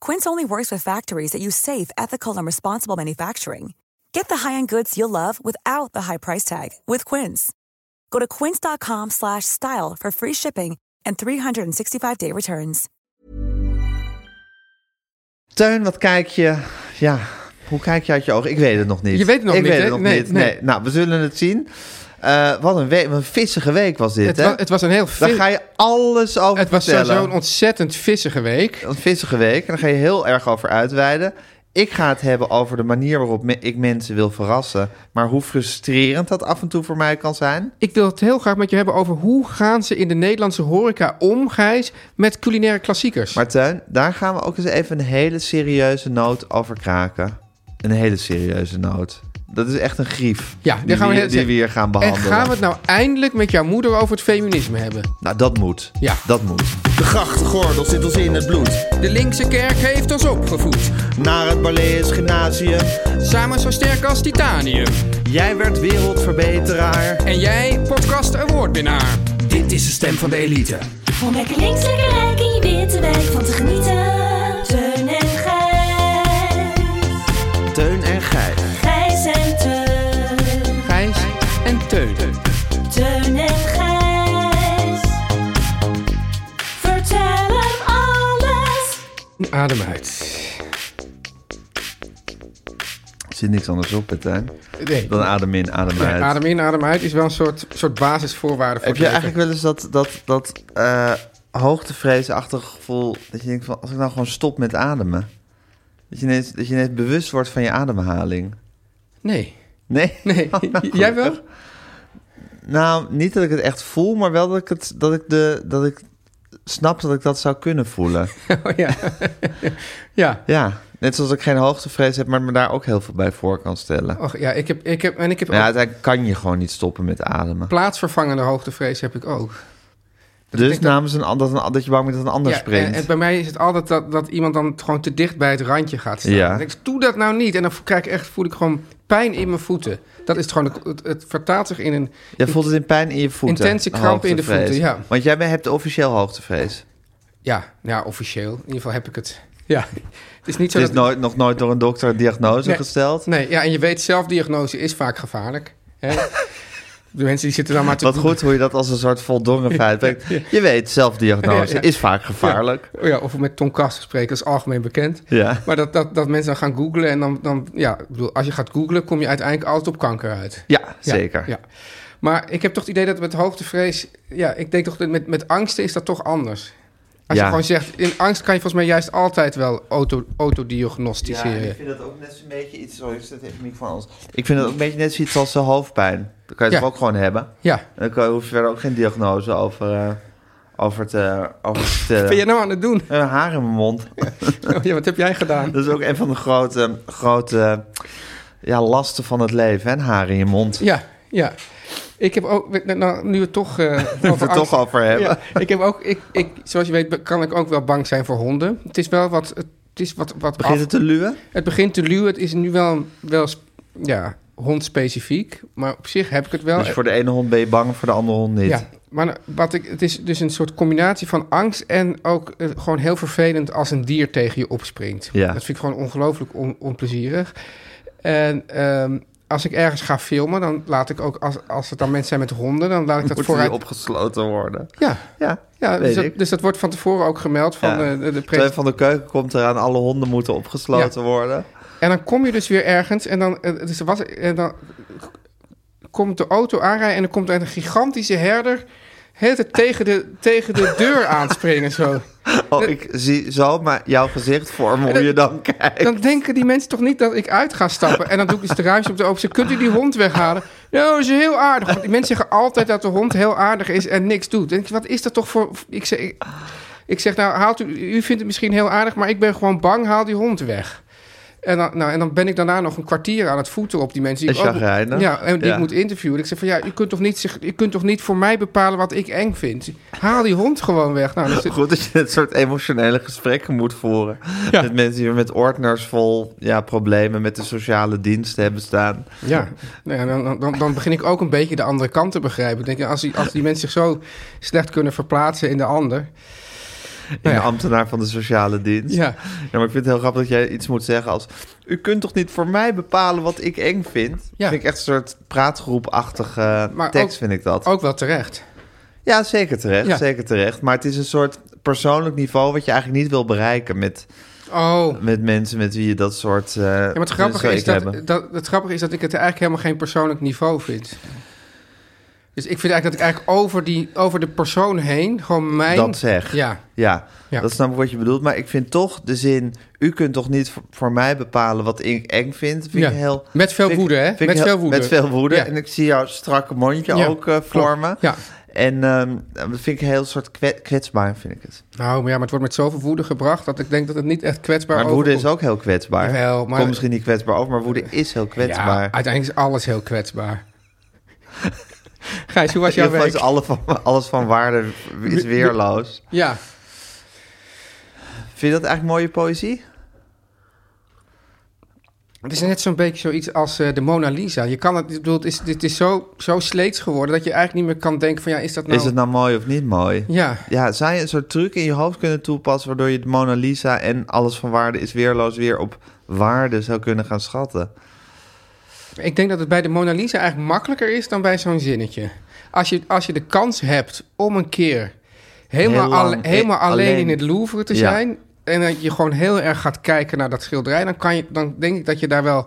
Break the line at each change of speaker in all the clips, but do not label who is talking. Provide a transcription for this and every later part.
Quince only works with factories that use safe, ethical, and responsible manufacturing. Get the high-end goods you'll love without the high price tag with Quince. Go to quince.com slash style for free shipping and 365-day returns.
Teun, wat kijk je? Ja, hoe kijk je uit je ogen? Ik weet het nog niet.
Je weet het nog
ik
niet,
Weet het
hè?
nog
Nee,
niet.
nee.
Nee. Nou, we zullen het zien. Eh, wat, een week, wat een vissige week was dit,
Het,
hè?
wa- het was een heel
Daar
vi-
ga je alles over
Het was zo-
Oh, vertellen.
zo'n ontzettend vissige week.
Een vissige week. En daar ga je heel erg over uitweiden. Ik ga het hebben over de manier waarop me- ik mensen wil verrassen. Maar hoe frustrerend dat af en toe voor mij kan zijn.
Ik wil het heel graag met je hebben over hoe gaan ze in de Nederlandse horeca om, Gijs, met culinaire klassiekers.
Maar Teun, daar gaan we ook eens even een hele serieuze noot over kraken. Een hele serieuze noot. Dat is echt een grief
Ja,
die,
daar gaan we
we,
heel-
die we hier gaan behandelen.
En gaan we het nou eindelijk met jouw moeder over het feminisme hebben?
Nou, dat moet.
Ja.
Dat moet.
De grachtgordel zit ons in het bloed.
De linkse kerk heeft ons opgevoed.
Naar het Balees Gymnasium.
Samen zo sterk als titanium.
Jij werd wereldverbeteraar.
En jij, podcast awardwinnaar.
Dit is de stem van de elite.
Om lekker links, lekker rijk in je witte wijk van te genieten. Teun en Gijs.
Teun en Gijs.
Gijs en Teun.
Gijs en Teun.
Teun en Gijs. Vertel hem alles.
Adem uit.
Er zit niks anders op, hè, Teun.
Nee.
Dan adem in, adem uit.
Adem in, adem uit is wel een soort, soort basisvoorwaarde voor
Heb
het
je
leven.
eigenlijk wel eens dat, dat, dat eh hoogtevreesachtig gevoel... dat je denkt van, als ik nou gewoon stop met ademen... dat je ineens, dat je ineens bewust wordt van je ademhaling?
Nee.
Nee?
Nee.
Nou,
jij wel?
Nou, niet dat ik het echt voel, maar wel dat ik, het, dat ik, de, dat ik snap dat ik dat zou kunnen voelen.
Oh, ja. ja.
Ja, net zoals ik geen hoogtevrees heb, maar me daar ook heel veel bij voor kan stellen.
Och, ja, ik heb, ik heb, en ik heb
Maar ja,
ook
uiteindelijk kan je gewoon niet stoppen met ademen.
plaatsvervangende hoogtevrees heb ik ook.
Dus namens een, an- dat, een, dat je bang bent dat een ander
Ja, en,
springt.
en bij mij is het altijd dat, dat iemand dan gewoon te dicht bij het randje gaat staan.
Ja.
Dan denk ik, doe dat nou niet. En dan krijg ik echt, voel ik gewoon pijn in mijn voeten. Dat is het gewoon, het, het vertaalt zich in een...
Jij voelt het in pijn in je voeten.
Intense kramp in de voeten,
hoogtevrees.
ja.
Want jij bent- hebt officieel hoogtevrees.
Ja, ja, officieel. In ieder geval heb ik het. Ja, het is niet zo
Er is
dat...
nooit, nog nooit door een dokter een diagnose
Nee.
gesteld.
Nee, ja, en je weet zelf, diagnose is vaak gevaarlijk. Hè? De mensen die zitten dan maar te...
Wat goed hoe je dat als een soort voldongen feit brengt. Je weet, zelfdiagnose
Ja, ja.
is vaak gevaarlijk.
Ja, of met Tom Kast spreken, dat is algemeen bekend.
Ja.
Maar dat, dat, dat mensen dan gaan googlen en dan, dan... Ja, ik bedoel, als je gaat googlen, kom je uiteindelijk altijd op kanker uit.
Ja, zeker.
Ja. Maar ik heb toch het idee dat met hoogtevrees... Ja, ik denk toch dat met, met angsten is dat toch anders. Als
Ja.
je gewoon zegt... In angst kan je volgens mij juist altijd wel auto, autodiagnosticeren.
ik vind dat ook net zo'n beetje iets... Sorry, ik zet even de microfoon anders. Ik vind dat ook een beetje net zoiets als de hoofdpijn. Dat kan je
Ja.
toch ook gewoon hebben.
Ja.
En dan kan- hoef je verder ook geen diagnose over, eh, over te over te
Ben je
stellen.
nou aan het doen? Oh
Een haar in mijn mond.
ja, wat heb jij gedaan?
Dat is ook een van de grote, grote ja, lasten van het leven. En haar in je mond.
Ja, ja. Ik heb ook... Nou, nu we het toch... eh
We
over
het er
angst-
toch over hebben.
Ja, ik heb ook... Ik, ik, zoals je weet kan ik ook wel bang zijn voor honden. Het is wel wat... Het is wat, wat
Begint
af-
het te luwen?
Het begint te luwen. Het is nu wel, wel sp- ja, hondspecifiek. Maar op zich heb ik het wel.
Dus voor de ene hond ben je bang, voor de andere hond niet.
Ja, maar wat ik, het is dus een soort combinatie van angst en ook eh, gewoon heel vervelend als een dier tegen je opspringt.
Ja.
Dat vind ik gewoon ongelooflijk on- onplezierig. En ehm, als ik ergens ga filmen, dan laat ik ook, als, als het dan mensen zijn met honden, dan laat ik dat
Moet
vooruit.
die opgesloten worden.
Ja,
Ja,
ja
weet
dus, dat,
ik.
dus dat wordt van tevoren ook gemeld van
Ja.
eh, de, de
Twee
presentatie.
van de keuken komt eraan, alle honden moeten opgesloten worden.
En dan kom je dus weer ergens en dan, eh, dus er was, en dan komt de auto aanrijden en dan komt er een gigantische herder. hele tijd tegen de, tegen de deur aanspringen zo.
Oh, ik zie zo maar jouw gezicht vormen hoe je dan kijkt.
Dan denken die mensen toch niet dat ik uit ga stappen. En dan doe ik iets te ruis op de open. Ze kunt u die hond weghalen. Nou, dat is heel aardig. Want die mensen zeggen altijd dat de hond heel aardig is en niks doet. Denk ik, wat is dat toch voor. Ik zeg, ik, ik zeg nou, haalt u, u vindt het misschien heel aardig, maar ik ben gewoon bang, haal die hond weg. En dan, nou, en dan ben ik daarna nog een kwartier aan het voeten op die mensen. Die
En
ik ook-
chagrijnig.
ja, en die
Ja.
ik moet interviewen. Ik zeg van ja, u kunt, toch niet, zich- u kunt toch niet voor mij bepalen wat ik eng vind. Haal die hond gewoon weg. Nou, dan zit-
Goed dat je dit soort emotionele gesprekken moet voeren.
Ja.
Met mensen die weer met ordners vol ja, problemen met de sociale diensten hebben staan.
Ja, nou ja, dan- dan, dan, dan begin ik ook een beetje de andere kant te begrijpen. Ik Denk, als, die, als die mensen zich zo slecht kunnen verplaatsen in de ander.
Een
Nou ja.
ambtenaar van de sociale dienst.
Ja.
Ja, maar ik vind het heel grappig dat jij iets moet zeggen als... U kunt toch niet voor mij bepalen wat ik eng vind?
Ja.
Vind ik echt een soort praatgroepachtige
Maar
tekst,
ook-
vind ik dat.
Ook wel terecht.
Ja, zeker terecht,
Ja.
zeker terecht. Maar het is een soort persoonlijk niveau wat je eigenlijk niet wil bereiken... met,
Oh.
met mensen met wie je dat soort... eh ja,
Ja, maar het grappige, is dat, dat, het grappige is dat ik het eigenlijk helemaal geen persoonlijk niveau vind. Dus ik vind eigenlijk dat ik eigenlijk over, die, over de persoon heen gewoon mijn...
Dat zeg.
Ja,
Ja,
Ja.
dat snap ik wat je bedoelt. Maar ik vind toch de zin... U kunt toch niet voor, voor mij bepalen wat ik eng vind? Vind
Ja.
ik heel...
Met veel
vind ik-
woede, hè?
vind ik
Met
heel-
veel woede.
Met veel woede.
Ja.
En ik zie jouw strakke mondje
Ja,
ook eh,
klopt.
vormen.
Ja.
En ehm, dat vind ik een heel soort kwet- kwetsbaar, vind ik het.
nou maar ja, maar het wordt met zoveel woede gebracht... dat ik denk dat het niet echt kwetsbaar
Maar woede
overkomt.
is ook heel kwetsbaar.
Jawel, maar-
Komt misschien niet kwetsbaar over, maar woede is heel kwetsbaar.
Ja, uiteindelijk is alles heel kwetsbaar. Gijs, hoe was
In ieder
jouw
geval
week?
is alle van, alles van waarde is weerloos.
Ja.
Vind je dat eigenlijk mooie poëzie?
Het is net zo'n beetje zoiets als eh, de Mona Lisa. Je kan het, ik bedoel, het is, dit is zo, zo sleets geworden dat je eigenlijk niet meer kan denken van ja, is dat nou...
Is het nou mooi of niet mooi?
Ja,
Ja, zou je een soort truc in je hoofd kunnen toepassen... waardoor je de Mona Lisa en alles van waarde is weerloos... weer op waarde zou kunnen gaan schatten?
ik denk dat het bij de Mona Lisa eigenlijk makkelijker is dan bij zo'n zinnetje. Als je, als je de kans hebt om een keer helemaal,
Heel lang,
alle- helemaal
eh,
alleen,
alleen-
in het Louvre te
Ja.
zijn... en dat je gewoon heel erg gaat kijken naar dat schilderij... Dan, kan je, dan denk ik dat je daar wel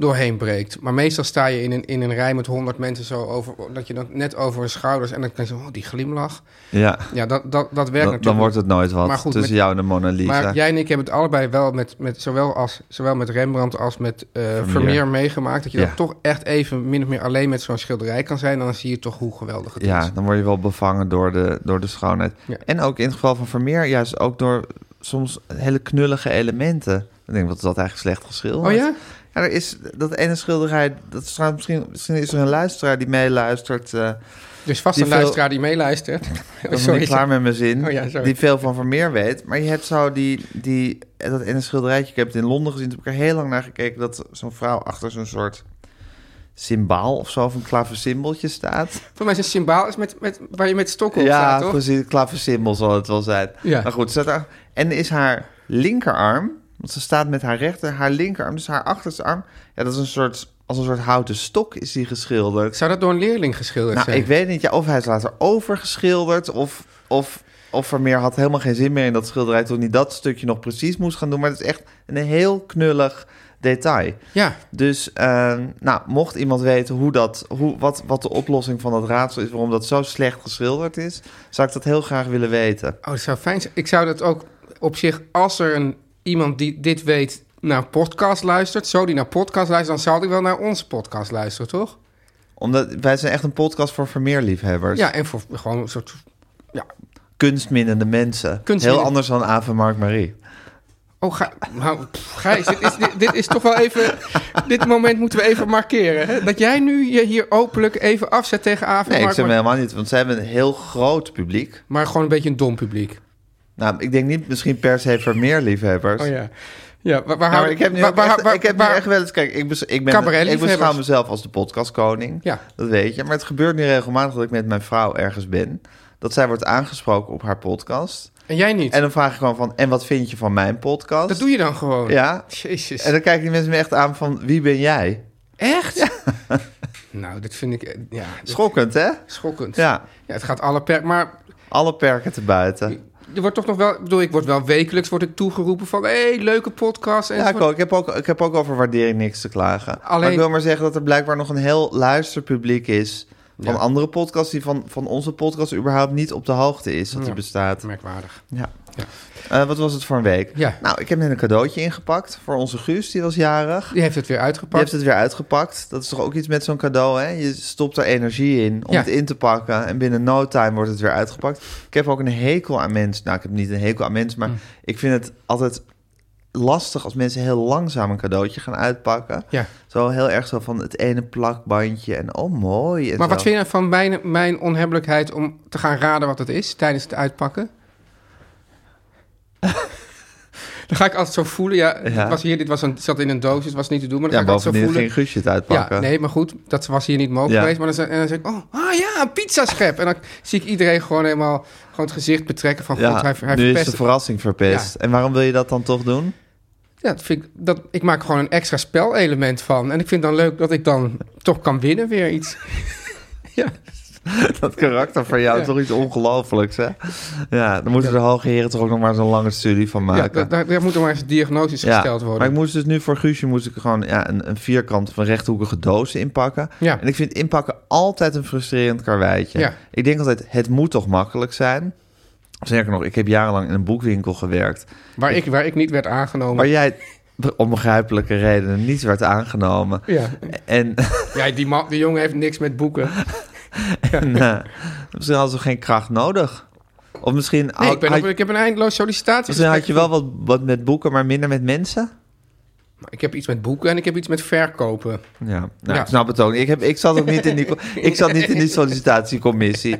doorheen breekt. Maar meestal sta je in een, in een rij met honderd mensen zo over... dat je dan net over hun schouders... en dan kan je zo, oh, die glimlach.
Ja,
Ja, dat, dat, dat werkt
dan,
natuurlijk
dan wordt het nooit wat
Maar goed,
tussen
met-
jou en de Mona Lisa.
Maar jij en ik hebben het allebei wel met, met, zowel, als, zowel met Rembrandt als met eh Vermeer. meegemaakt. Dat je
Ja.
dan toch echt even min of meer alleen met zo'n schilderij kan zijn. En dan zie je toch hoe geweldig het is.
Ja, dan word je wel bevangen door de, door de schoonheid.
Ja.
En ook in het geval van Vermeer, juist ook door soms hele knullige elementen. Ik denk, wat is dat eigenlijk slecht geschilderd?
Oh ja?
Ja, er is dat ene schilderij, dat is trouwens misschien, misschien is er een luisteraar die meeluistert... eh,
Dus vast
Die
een
veel-
luisteraar die meeluistert.
Ik
Oh,
ben nog
sorry.
niet klaar met mijn zin.
Oh ja, sorry.
die veel van Vermeer weet. Maar je hebt zo die, die, dat ene schilderijtje. Ik heb het in Londen gezien. Toen heb ik er heel lang naar gekeken. Dat zo'n vrouw achter zo'n soort symbaal of zo. Of een klaversymboltje staat.
Voor mij is een symbool is met, met, waar je met stokken op
ja,
staat, toch?
precies. Klaversymbol zal het wel zijn.
Ja.
Maar goed, staat daar. En is haar linkerarm. Want ze staat met haar rechter. Haar linkerarm, dus haar achterste arm. Ja, dat is een soort. Als een soort houten stok is die geschilderd.
Zou dat door een leerling geschilderd
Nou,
zijn?
ik weet niet. Ja, of hij is later overgeschilderd. Of, of, of Vermeer had helemaal geen zin meer in dat schilderij. Toen hij dat stukje nog precies moest gaan doen. Maar het is echt een heel knullig detail.
Ja,
Dus eh, nou, mocht iemand weten hoe dat, hoe, wat, wat de oplossing van dat raadsel is. waarom dat zo slecht geschilderd is. zou ik dat heel graag willen weten.
oh, dat zou fijn zijn. Ik zou dat ook op zich, als er een, iemand die dit weet naar een podcast luistert... zo die naar podcast luistert, dan zou ik wel naar onze podcast luisteren, toch?
Omdat wij zijn echt een podcast voor Vermeer-liefhebbers.
Ja, en voor gewoon een soort... Ja.
Kunstminnende mensen.
Kunstminnende-
Heel anders dan Ave Mark Marie.
Oh, Gij- nou, pff, Gijs, dit is, dit, dit is toch wel even... Dit moment moeten we even markeren. Hè? Dat jij nu je hier openlijk even afzet tegen Aven.
Nee, ik
Mark,
zeg me
maar,
helemaal niet. Want zij hebben een heel groot publiek.
maar gewoon een beetje een dom publiek.
Nou, ik denk niet misschien per se voor meer liefhebbers.
Oh ja. Ja, waar,
Ja, Nou, maar
waar houden-
ik heb nu
waar-
ook
waar-
echt,
waar-
ik heb nu
waar-
echt wel eens... Kijk, ik, bes- ik, ben, ik
Cabaretliefhebbers.
beschouw mezelf als de podcastkoning.
Ja.
Dat weet je. Maar het gebeurt nu regelmatig dat ik met mijn vrouw ergens ben. Dat zij wordt aangesproken op haar podcast.
En jij niet.
En dan vraag ik gewoon van... En wat vind je van mijn podcast?
dat doe je dan gewoon.
Ja.
Jezus.
En dan kijken die mensen me echt aan van... Wie ben jij?
Echt? Nou, dit vind ik... eh, Ja, dit-
Schokkend, hè?
schokkend.
Ja.
Het gaat alle per... Maar
Alle perken te buiten.
er wordt toch nog wel... Ik bedoel, ik word wel wekelijks word ik toegeroepen van... Hé, hey, leuke podcast. En
Ja, ik, ook. Ik, heb ook, ik heb ook over waardering niks te klagen. Maar
Alleen-
ik wil maar zeggen dat er blijkbaar nog een heel luisterpubliek is... van
Ja.
andere podcasts die van, van onze podcast überhaupt niet op de hoogte is dat
Ja.
er bestaat.
Merkwaardig.
Ja.
Ja.
Eh, wat was het voor een week?
Ja.
Nou, ik heb net een cadeautje ingepakt voor onze Guus, die was jarig.
Die heeft het weer
Je
uitgepakt.
hebt het weer uitgepakt. Dat is toch ook iets met zo'n cadeau, hè? Je stopt er energie in om
Ja.
het in te pakken. En binnen no time wordt het weer uitgepakt. Ik heb ook een hekel aan mensen. Nou, ik heb niet een hekel aan mensen,
Hm.
maar ik vind het altijd lastig als mensen heel langzaam een cadeautje gaan uitpakken.
Ja.
Zo heel erg zo van het ene plakbandje en oh mooi. En
Maar wat
zo.
vind je nou van mijn, mijn onhebbelijkheid om te gaan raden wat het is tijdens het uitpakken? Dan ga ik altijd zo voelen. Ja,
Ja.
Het was hier, dit was een, het zat in een doos, het was niet te doen. Maar dan
Ja,
ga ik altijd zo
bovendien
voelen.
ging Guusje het
Ja,
uitpakken.
nee, maar goed, dat was hier niet mogelijk
Ja.
geweest. Maar dan, zeg- en dan zeg ik, oh, ah ja, een pizzaschep. En dan zie ik iedereen gewoon helemaal gewoon het gezicht betrekken van,
Ja,
goed, hij, hij
nu
verpest
is de
het.
verrassing verpest. En waarom wil je dat dan toch doen?
Ja, dat vind ik, dat, ik maak gewoon een extra spelelement van. En ik vind dan leuk dat ik dan toch kan winnen weer iets. ja,
Dat karakter van jou is
Ja.
toch iets ongelofelijks, hè? Ja, dan moeten de hoge heren toch ook nog maar zo'n lange studie van
ja
maken.
daar, daar daar moeten maar eens diagnoses
Ja,
gesteld worden.
maar ik moest dus nu voor Guusje moest ik gewoon ja, een, een vierkant of een rechthoekige doos inpakken.
Ja.
En ik vind inpakken altijd een frustrerend karweitje.
Ja.
Ik denk altijd, het moet toch makkelijk zijn? Zeker nog, ik heb jarenlang in een boekwinkel gewerkt...
Waar ik, waar ik niet werd aangenomen.
waar jij om begrijpelijke redenen niet werd aangenomen.
Ja,
En
ja die, man, die jongen heeft niks met boeken.
En, eh, misschien hadden ze geen kracht nodig. Of misschien,
Nee,
had,
Oh, ik, ben
had-
op- ik heb een eindeloos sollicitatie.
misschien Dus had je wel wat, wat met boeken, maar minder met mensen.
Ik heb iets met boeken en ik heb iets met verkopen.
Ja, nou,
Ja.
ik snap het ook niet. Ik, heb, ik zat ook niet in die, co- ik zat niet in die sollicitatiecommissie.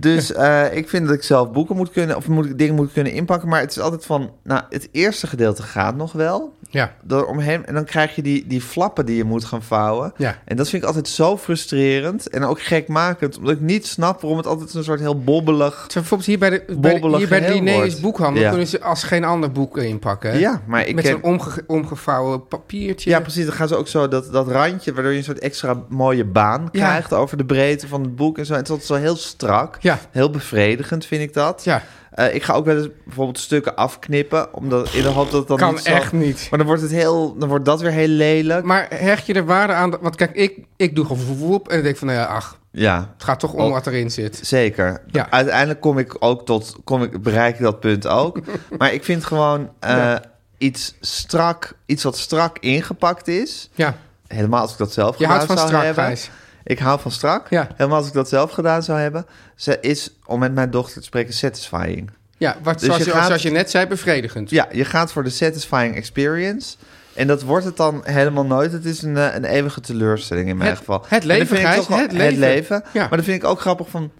Dus eh, ik vind dat ik zelf boeken moet kunnen, of moet, ik dingen moet kunnen inpakken. Maar het is altijd van, nou, het eerste gedeelte gaat nog wel.
Ja,
Door omheen, en dan krijg je die, die flappen die je moet gaan vouwen.
Ja.
En dat vind ik altijd zo frustrerend en ook gekmakend. Omdat ik niet snap waarom het altijd een soort heel bobbelig...
Terwijl Bijvoorbeeld hier bij de, bij de,
Bobbelig
hier bij de
geheel
Linnaeus
wordt.
boekhandel
Ja.
kunnen ze als geen ander boek inpakken.
Ja, maar ik
Met
ken-
zo'n omge- omgevouwen papiertje.
Ja, precies. Dan gaan ze ook zo dat, dat randje, waardoor je een soort extra mooie baan krijgt over de breedte van het boek en zo. En het is altijd zo heel strak.
Ja.
Heel bevredigend vind ik dat.
Ja.
Eh, ik ga ook wel eens bijvoorbeeld stukken afknippen, omdat in de hoop dat het dan
Kan
niet zo-
echt niet.
Maar dan wordt het heel, dan wordt dat weer heel lelijk.
Maar hecht je er waarde aan? dat- Want kijk, ik, ik doe gewoon woep, woep en dan denk ik van, nou ja, ach,
Ja.
het gaat toch om
Oh.
wat erin zit.
Zeker.
Ja.
Uiteindelijk kom ik ook tot, kom ik, bereik ik dat punt ook. maar ik vind gewoon eh, iets strak, iets wat strak ingepakt is.
Ja,
Helemaal als ik dat zelf
Je
gedaan
houdt van
zou
strak,
hebben.
Gijs.
Ik hou van strak.
Ja.
Helemaal als ik dat zelf gedaan zou hebben. Ze is, om met mijn dochter te spreken, satisfying.
ja wat,
Dus
zoals,
je
je,
gaat-
zoals je net zei, bevredigend.
Ja, je gaat voor de satisfying experience. En dat wordt het dan helemaal nooit. Het is een, eh, een eeuwige teleurstelling in mijn
Het-
geval.
het
En dat
leven,
vind ik
Gijs,
toch wel-
het leven. Ja.
Maar dat vind ik ook grappig van...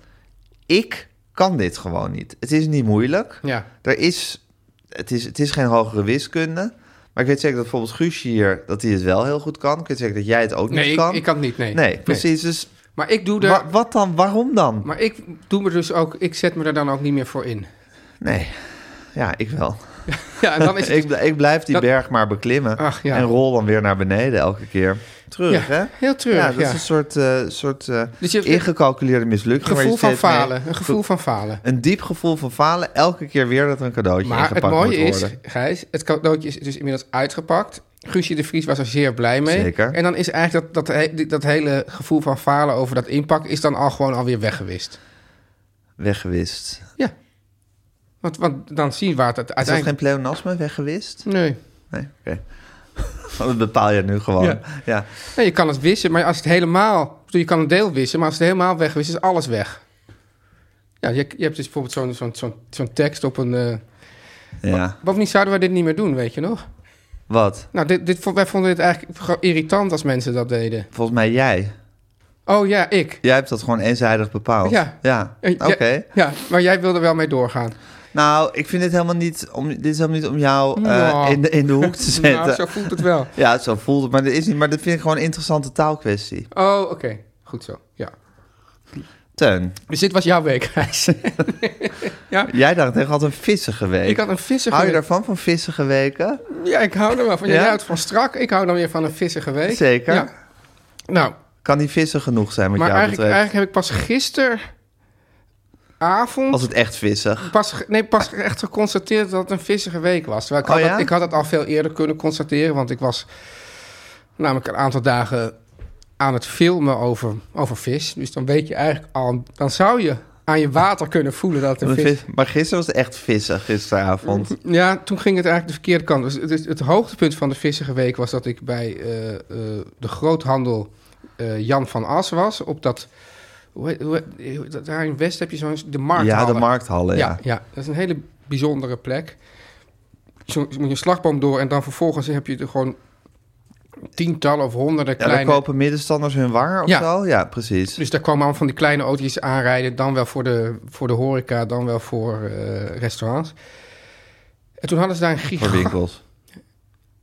Ik kan dit gewoon niet. Het is niet moeilijk.
Ja.
Er is, het, is, het is geen hogere wiskunde. Maar ik weet zeker dat bijvoorbeeld Guusje hier... dat hij het wel heel goed kan. Ik weet zeker dat jij het ook
Nee,
niet
ik,
kan.
ik kan het niet, nee.
Nee, precies. Dus
Maar ik doe er...
wa- wat dan? Waarom dan?
Maar ik doe me dus ook... Ik zet me er dan ook niet meer voor in.
Nee. Ja, ik wel.
Ja, en dan is het... dus
ik, bl- ik blijf die
dat-
berg maar beklimmen.
Ach, ja.
En rol dan weer naar beneden elke keer. Terug,
Ja,
hè?
heel treurig,
Ja, dat
ja.
is een soort, eh, soort eh,
Dus je hebt-
ingecalculeerde mislukking. waar je
gevoel van
steeds meer-
falen. Een gevoel van falen.
Een diep gevoel van falen. Elke keer weer dat er een cadeautje
Maar het
ingepakt
mooie
moet
is,
worden.
Gijs, het cadeautje is dus inmiddels uitgepakt. Guusje de Vries was er zeer blij mee.
Zeker.
En dan is eigenlijk dat, dat, he- dat hele gevoel van falen over dat inpak... is dan al gewoon alweer weggewist.
Weggewist.
Ja. Want, want dan zien we waar het
Is dat geen
uiteindelijk...
pleonasme, weggewist?
Nee.
Nee, oké. dat bepaal je nu gewoon. Ja.
Ja. nee. Je kan het wissen, maar als het helemaal... ik bedoel, Je kan een deel wissen, maar als het helemaal weggewist is, alles weg. Ja, je, je hebt dus bijvoorbeeld zo'n zo'n zo'n zo'n tekst op een... eh,
ja.
Bovendien zouden we dit niet meer doen, weet je nog?
Wat?
Nou, dit, dit, vo- wij vonden dit eigenlijk gewoon irritant als mensen dat deden.
Volgens mij jij.
Oh ja, ik.
Jij hebt dat gewoon eenzijdig bepaald.
Ja.
Ja,
Eh,
oké.
ja- Ja, maar jij wilde wel mee doorgaan.
Nou, ik vind dit helemaal niet om, dit is helemaal niet om jou eh,
Nou.
in, de, in de hoek te zetten.
Nou, zo voelt het wel.
Ja, zo voelt het, maar dat is niet. Maar dat vind ik gewoon een interessante taalkwestie.
Oh, oké. Goed zo, ja.
Teun,
Dus dit was jouw week, Gijs. ja,
jij dacht echt had een vissige week.
ik had een vissige
Hou je
week.
daarvan van vissige weken?
Ja, ik hou er wel van. Jij
Ja?
houdt van strak, ik hou dan weer van een vissige week.
Zeker.
Ja. Nou,
Kan die vissen genoeg zijn wat
maar
jou
eigenlijk,
betreft?
eigenlijk heb ik pas gisteravond...
Als het echt vissig.
Pas, ge- nee, pas echt geconstateerd dat het een vissige week was. Terwijl ik, had
Oh ja?
dat, ik had het al veel eerder kunnen constateren, want ik was namelijk een aantal dagen aan het filmen over, over vis. Dus dan weet je eigenlijk al... Dan zou je aan je water kunnen voelen dat er
Een
vis...
vis- Maar gisteren was het echt vissen, gisteravond.
Ja, toen ging het eigenlijk de verkeerde kant. Dus het, het hoogtepunt van de vissige week was dat ik bij eh, eh, de groothandel eh, Jan van As was. Op dat... Hoe, heet- hoe heet- dat- daar in West heb je zo'n... De markt
Ja, de markthallen, ja.
ja, ja, dat is een hele bijzondere plek. Zo moet je een slagboom door en dan vervolgens heb je er gewoon tientallen of honderden
Ja,
kleine...
daar kopen middenstanders hun wangen of
Ja.
zo? Ja, precies.
Dus daar kwamen allemaal van die kleine autootjes aanrijden. Dan wel voor de, voor de horeca, dan wel voor eh, restaurants. En toen hadden ze daar een
Voor
gigantisch...
winkels.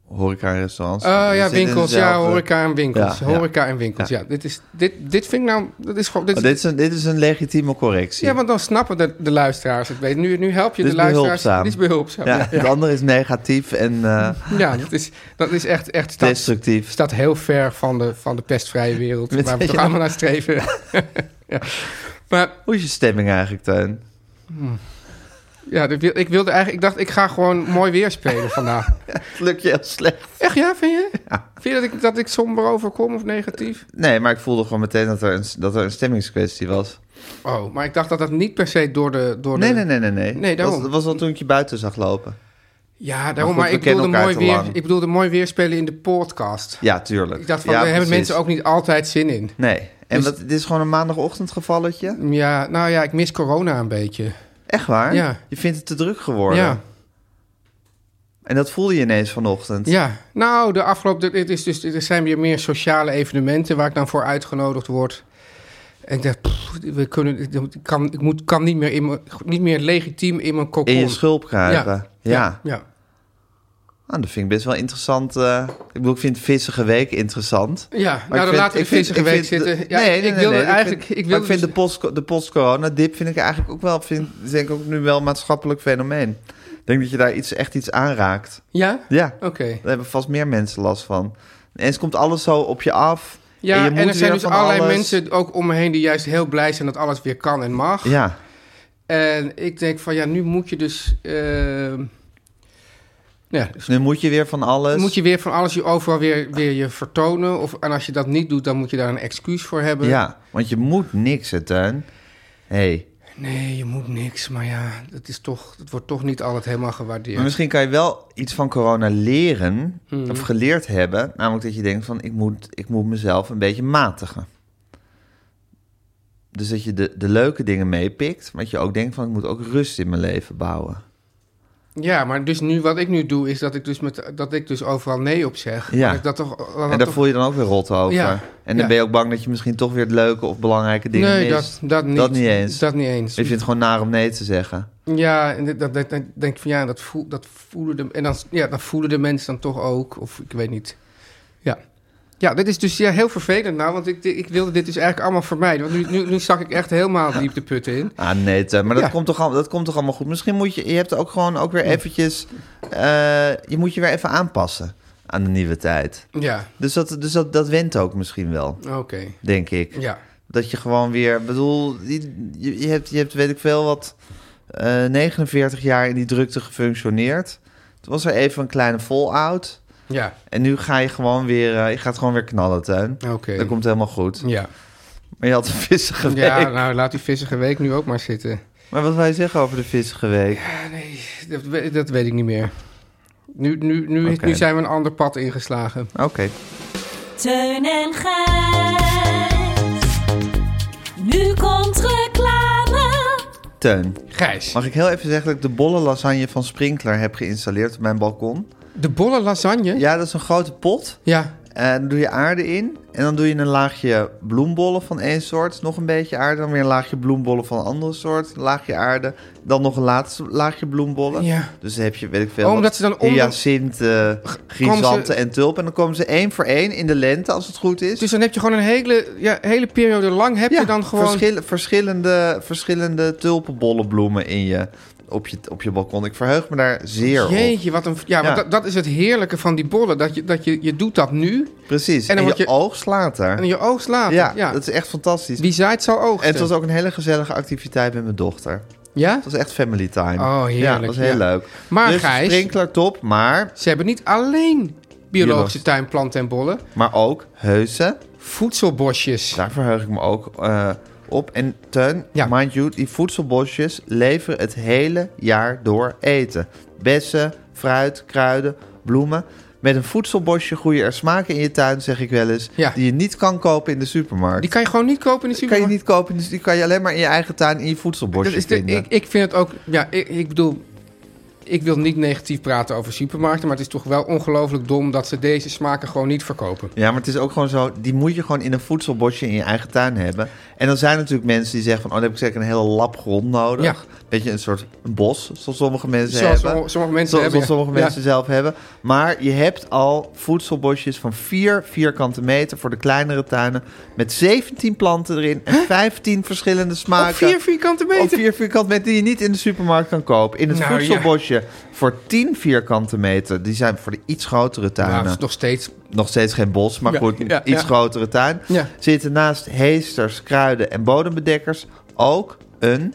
Horeca en restaurants.
Oh
Die
ja,
zitten in
winkels, ja,
dezelfde-
horeca en winkels.
Ja, ja.
horeca en winkels, ja. Dit, is, dit, dit vind ik nou... Dat is gewoon, dit
Oh,
is-
dit, is een, dit is een legitieme correctie.
ja, want dan snappen de, de luisteraars het beter. Nu, nu help je
Dit
de
is
luisteraars.
behulpzaam.
Dit is behulpzaam.
Ja,
Ja, ja.
Het andere is negatief en eh,
Ja, dat is, dat is echt... echt staat-
destructief.
staat heel ver van de, van de pestvrije wereld...
Met-
waar we toch
ja.
allemaal naar streven. ja. Maar
Hoe is je stemming eigenlijk, Teun?
ja, dat wil- ik wilde eigenlijk... Ik dacht, ik ga gewoon mooi weer spelen vandaag.
Het lukt je heel slecht.
Echt ja, vind je? Vind je dat ik, dat ik somber overkom of negatief?
Nee, maar ik voelde gewoon meteen dat er een, dat er een stemmingskwestie was.
Oh, maar ik dacht dat dat niet per se door de... Door
Nee,
de
nee, nee, nee. nee.
Nee, daarom.
Dat was, dat was al toen ik je buiten zag lopen.
Ja, daarom,
Maar
maar,
goed,
ik,
we kennen elkaar
bedoelde mooi
te
weer,
lang.
ik bedoelde mooi weer spelen in de podcast.
Ja, tuurlijk.
Ik dacht van,
ja,
daar hebben
precies.
mensen ook niet altijd zin in.
Nee. En
Dus-
wat, dit is gewoon een maandagochtend gevalletje?
Ja, nou ja, ik mis corona een beetje.
Echt waar?
Ja.
Je vindt het te druk geworden.
Ja,
En dat voelde je ineens vanochtend.
ja. Nou, de afgelopen... Dit is dus, er zijn weer meer sociale evenementen waar ik dan voor uitgenodigd word. En ik dacht, pff, we kunnen, ik, kan, ik moet, kan niet meer, in mijn, niet meer legitiem in mijn kokon.
In je schulp kruipen. Ja.
ja. ja.
Ah, dat vind ik best wel interessant. eh, ik bedoel, ik vind vissige week interessant.
Ja,
Maar
nou, dan
ik vind-
laten we
ik
de
vind-
vissige
ik
week
vind-
zitten. Ja,
nee, nee,
ik
nee,
wilde
nee,
eigenlijk...
vind,
ik
maar
wilde
ik vind
dus-
de post, de post-corona dip vind ik eigenlijk ook wel, vind, denk ik ook nu wel een maatschappelijk fenomeen. Ik denk dat je daar iets, echt iets aanraakt.
Ja?
Ja,
Oké.
daar hebben vast meer mensen last van. Eens komt alles zo op je af.
Ja,
je
en,
moet
er zijn
weer
dus
van
allerlei
alles.
mensen ook om me heen die juist heel blij zijn dat alles weer kan en mag.
Ja,
En ik denk van ja, nu moet je dus. ehm, ja, dus
dus nu moet je weer van alles.
moet je weer van alles je overal weer, weer je vertonen. Of, en als je dat niet doet, dan moet je daar een excuus voor hebben.
Ja, want je moet niks, hè, Tuin. hey.
Nee, je moet niks. Maar ja, het, is toch, het wordt toch niet altijd helemaal gewaardeerd.
Maar misschien kan je wel iets van corona leren
Hmm.
of geleerd hebben. Namelijk dat je denkt van ik moet, ik moet mezelf een beetje matigen. Dus dat je de, de leuke dingen meepikt. Maar dat je ook denkt van ik moet ook rust in mijn leven bouwen.
Ja, maar dus nu, wat ik nu doe, is dat ik dus, met, dat ik dus overal nee op zeg.
Ja.
Dat ik dat toch, dat
en
dat
daar
toch-
voel je dan ook weer rot over.
Ja,
En dan
ja.
ben je ook bang dat je misschien toch weer het leuke of belangrijke dingen
Nee, dat,
mist.
dat niet.
Dat niet eens.
Dat niet eens.
Je vindt het gewoon naar om nee te zeggen.
Ja, en dat, dat, dat- dat denk ik van ja, dat, voel, dat voelen de, en dan, ja, dat voelen de mensen dan toch ook. Of ik weet niet. Ja, ja dit is dus ja, heel vervelend nou, want ik, ik wilde dit dus eigenlijk allemaal vermijden. Want nu, nu, nu zak ik echt helemaal diep de put in.
Ah, nee, Teun, maar dat,
Ja.
komt toch al, dat komt toch allemaal goed. Misschien moet je, je hebt ook gewoon ook weer eventjes, eh, je moet je weer even aanpassen aan de nieuwe tijd.
Ja,
Dus dat, dus dat, dat went ook misschien wel,
oké.
denk ik.
Ja.
Dat je gewoon weer, bedoel, je, je, hebt, je hebt weet ik veel wat, eh, 49 jaar in die drukte gefunctioneerd. Toen was er even een kleine fallout.
Ja,
En nu ga je gewoon weer, eh, je gaat gewoon weer knallen, Tuin.
oké.
Dat komt helemaal goed.
Ja.
Maar je had een vissige week.
ja, nou laat die vissige week nu ook maar zitten.
Maar wat wil je zeggen over de vissige week?
Ja, nee, dat, we- dat weet ik niet meer. Nu, nu, nu,
Oké.
nu zijn we een ander pad ingeslagen.
Oké.
Teun en Gijs. Nu komt reclame.
Teun,
Gijs,
mag ik heel even zeggen dat ik de bolle lasagne van Sprinkler heb geïnstalleerd op mijn balkon?
de bolle lasagne?
Ja, dat is een grote pot.
ja.
Eh, dan doe je aarde in. En dan doe je een laagje bloembollen van één soort. Nog een beetje aarde. Dan weer een laagje bloembollen van een andere soort. Een laagje aarde. Dan nog een laatste laagje bloembollen.
Ja.
Dus dan heb je, weet ik veel.
Oh,
wat,
omdat ze dan onder-
Hyacinthe,
komen ze-
chrysanten en tulpen. En dan komen ze één voor één in de lente, als het goed is.
Dus dan heb je gewoon een hele, ja, hele periode lang heb je dan gewoon...
verschil- verschillende, verschillende tulpenbollenbloemen in je, op, je, op je balkon. Ik verheug me daar zeer op.
Jeetje, wat een... Ja, want
Ja.
Dat, dat is het heerlijke van die bollen. Dat je, dat je, je doet dat nu
Precies.
En
En, je,
dan word je-
oogst later.
en je oogst later.
ja,
Ja,
dat is echt fantastisch.
Wie zaait zal oogsten.
En het was ook een hele gezellige activiteit met mijn dochter.
Ja?
Het was echt family time.
Oh, heerlijk,
Ja, dat was heel
ja.
leuk.
Maar
dus
Gijs-
sprinkler top, maar,
Ze hebben niet alleen biologische
Biologisch.
tuinplanten en bollen.
maar ook heuse
voedselbosjes.
Daar verheug ik me ook eh, op. En Teun,
Ja.
mind you, die voedselbosjes leveren het hele jaar door eten. Bessen, fruit, kruiden, bloemen. Met een voedselbosje groeien er smaken in je tuin, zeg ik wel eens,
Ja.
die je niet kan kopen in de supermarkt.
Die kan je gewoon niet kopen in de
Die kan je
supermarkt.
niet kopen, dus die kan je alleen maar in je eigen tuin in je voedselbosje
Dat is de-
vinden.
ik, ik vind het ook... Ja, ik, ik bedoel... Ik wil niet negatief praten over supermarkten... maar het is toch wel ongelooflijk dom... dat ze deze smaken gewoon niet verkopen.
Ja, maar het is ook gewoon zo, die moet je gewoon in een voedselbosje in je eigen tuin hebben. En dan zijn er natuurlijk mensen die zeggen van, oh, dan heb ik zeker een hele lap grond nodig.
Ja.
Weet je, een soort bos, zoals sommige mensen
Zoals
hebben.
sommige- sommige mensen
Zoals
hebben, ja.
sommige mensen zelf hebben. Maar je hebt al voedselbosjes van 4 vierkante meter voor de kleinere tuinen. Met 17 planten erin en 15 verschillende smaken.
Op vier vierkante meter.
Op vier vierkante meter die je niet in de supermarkt kan kopen. In het
Nou, ja.
voedselbosje voor 10 vierkante meter. Die zijn voor de iets grotere tuinen
Nou, dat is nog steeds...
nog steeds geen bos, maar
Ja,
goed,
ja,
iets
ja.
grotere tuin.
Ja.
Zitten naast heesters, kruiden en bodembedekkers ook een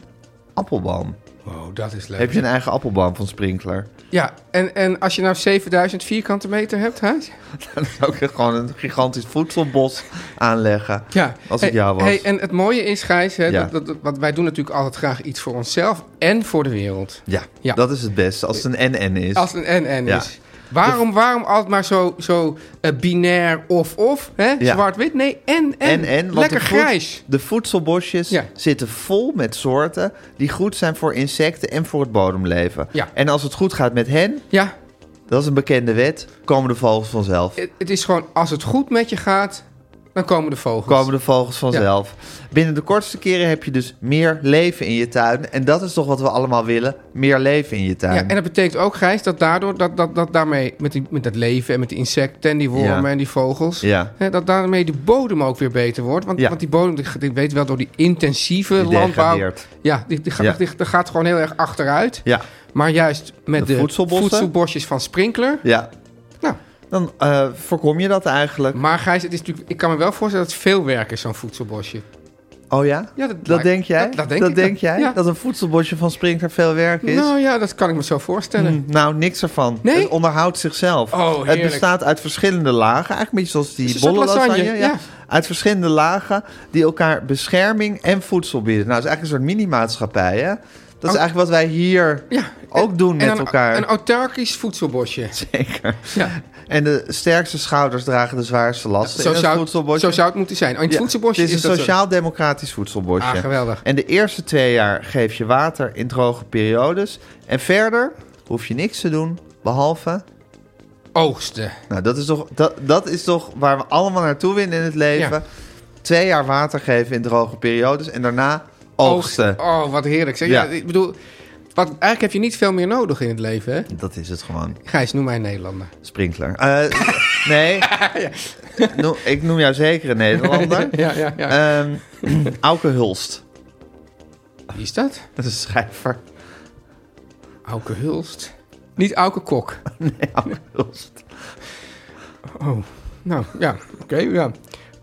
appelboom.
Wow, dat is leuk.
Heb je een eigen appelboom van Sprinkler?
Ja, en, en als je nou 7000 vierkante meter hebt, hè?
Dan zou ik er gewoon een gigantisch voedselbos aanleggen.
Ja.
Als ik
Hey,
jou was.
hey, en het mooie is, Gijs, hè,
Ja.
dat, dat, dat- want wij doen natuurlijk altijd graag iets voor onszelf en voor de wereld.
ja,
Ja.
dat is het beste. Als het een NN is.
Als het een en-en
Ja.
is. Waarom, waarom altijd maar zo, zo eh, binair of-of, hè?
Ja.
Zwart-wit? Nee, en-en.
En, en, want
Lekker
de voed-
grijs.
De voedselbosjes
Ja.
zitten vol met soorten die goed zijn voor insecten en voor het bodemleven.
Ja.
En als het goed gaat met hen,
Ja,
dat is een bekende wet, komen de vogels vanzelf.
het, het is gewoon, als het goed met je gaat, dan komen de vogels.
komen de vogels vanzelf. Binnen de kortste keren heb je dus meer leven in je tuin. En dat is toch wat we allemaal willen: meer leven in je tuin.
Ja, en dat betekent ook, Gijs, dat daardoor, dat, dat, dat daarmee, met, die, met dat leven en met die insecten en die wormen
Ja.
en die vogels,
Ja.
hè, dat daarmee de bodem ook weer beter wordt. Want,
Ja.
want die bodem, die- ik weet wel, door die intensieve
Die
landbouw.
degradeert.
Ja, die, die, gaat-
Ja.
die- die gaat gewoon heel erg achteruit.
Ja.
Maar juist
De
met de,
voedselbossen?
voedselbosjes van Sprinkler.
Ja.
Nou, Mm.
Dan eh, voorkom je dat eigenlijk.
maar Gijs, het is natuurlijk, ik kan me wel voorstellen dat het veel werk is, zo'n voedselbosje.
Oh ja?
Ja, dat
dat
lijkt-
denk jij?
dat- dat denk ik, dat-
jij?
ja.
Dat een voedselbosje van Sprinkler veel werk is?
Nou ja, dat kan ik me zo voorstellen.
Hm, Nou, niks ervan.
Nee?
Het onderhoudt zichzelf.
Oh,
het
heerlijk.
bestaat uit verschillende lagen. Eigenlijk een beetje zoals
Het
die
is een soort
bolle lasagne.
lasagne,
ja.
ja.
Uit verschillende lagen die elkaar bescherming en voedsel bieden. Nou, het is eigenlijk een soort mini-maatschappij, hè? Dat is
Oh.
eigenlijk wat wij hier
Ja.
ook doen met
en een,
elkaar.
Een autarkisch voedselbosje.
Zeker.
Ja.
En de sterkste schouders dragen de zwaarste lasten.
Zo
in het
zou,
voedselbosje.
zo zou het moeten zijn. Oh, in het
Ja,
voedselbosje
het is, een
dat zo.
sociaal-democratisch voedselbosje.
Ah, geweldig.
En de eerste twee jaar geef je water in droge periodes. En verder hoef je niks te doen, behalve...
Oogsten.
Nou, dat is toch, dat, dat is toch waar we allemaal naartoe willen in het leven.
Ja.
Twee jaar water geven in droge periodes en daarna oogsten.
Oh, wat heerlijk. Zeg, ja.
Ja.
ik bedoel, wat, eigenlijk heb je niet veel meer nodig in het leven, hè?
Oh. Dat is het gewoon.
Gijs, noem mij een Nederlander.
Sprinkler. Eh, nee. Noem- ik noem jou zeker een Nederlander.
Ja, ja, ja.
Ehm, Auke Hulst.
Wie is dat?
Dat is een schrijver.
Auke Hulst. Niet Auke Kok.
Nee, Auke Hulst.
Oh, nou ja, oké, ja.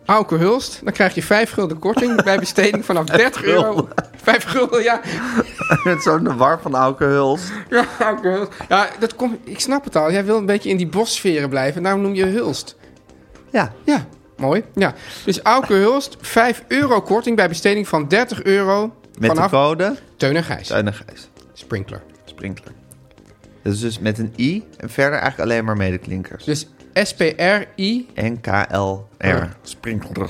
Auke Hulst, dan krijg je 5 gulden korting bij besteding vanaf 30 euro. 5 gulden, ja.
Het is zo'n de war van Auke Hulst.
Ja, Auke Hulst. Ja, dat komt, ik snap het al. Jij wil een beetje in die bossferen blijven, daarom noem je Hulst.
Ja.
Ja, mooi. Ja. Dus Auke Hulst, 5 euro korting bij besteding van 30 euro
Met
vanaf
de code.
Teun en Gijs.
Zuinigheid.
Sprinkler.
Sprinkler. Dat is dus met een i en verder eigenlijk alleen maar medeklinkers.
Dus SPRI.
NKLR. Sprinkler.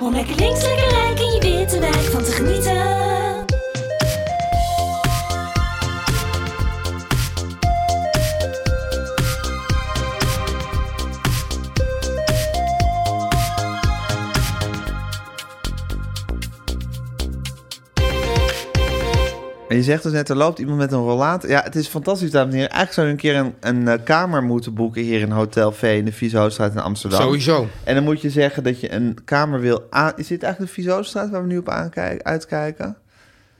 Om lekker links, lekker rijk in je witte wijk van te genieten.
En je zegt dus net, er loopt iemand met een rollator. Ja, het is fantastisch, dames en heren. Eigenlijk zou je een keer een, een eh, kamer moeten boeken hier in Hotel V in de Vieshoofdstraat in Amsterdam.
Sowieso.
En dan moet je zeggen dat je een kamer wil aan... Is dit eigenlijk de Vieshoofdstraat waar we nu op aankijk, uitkijken?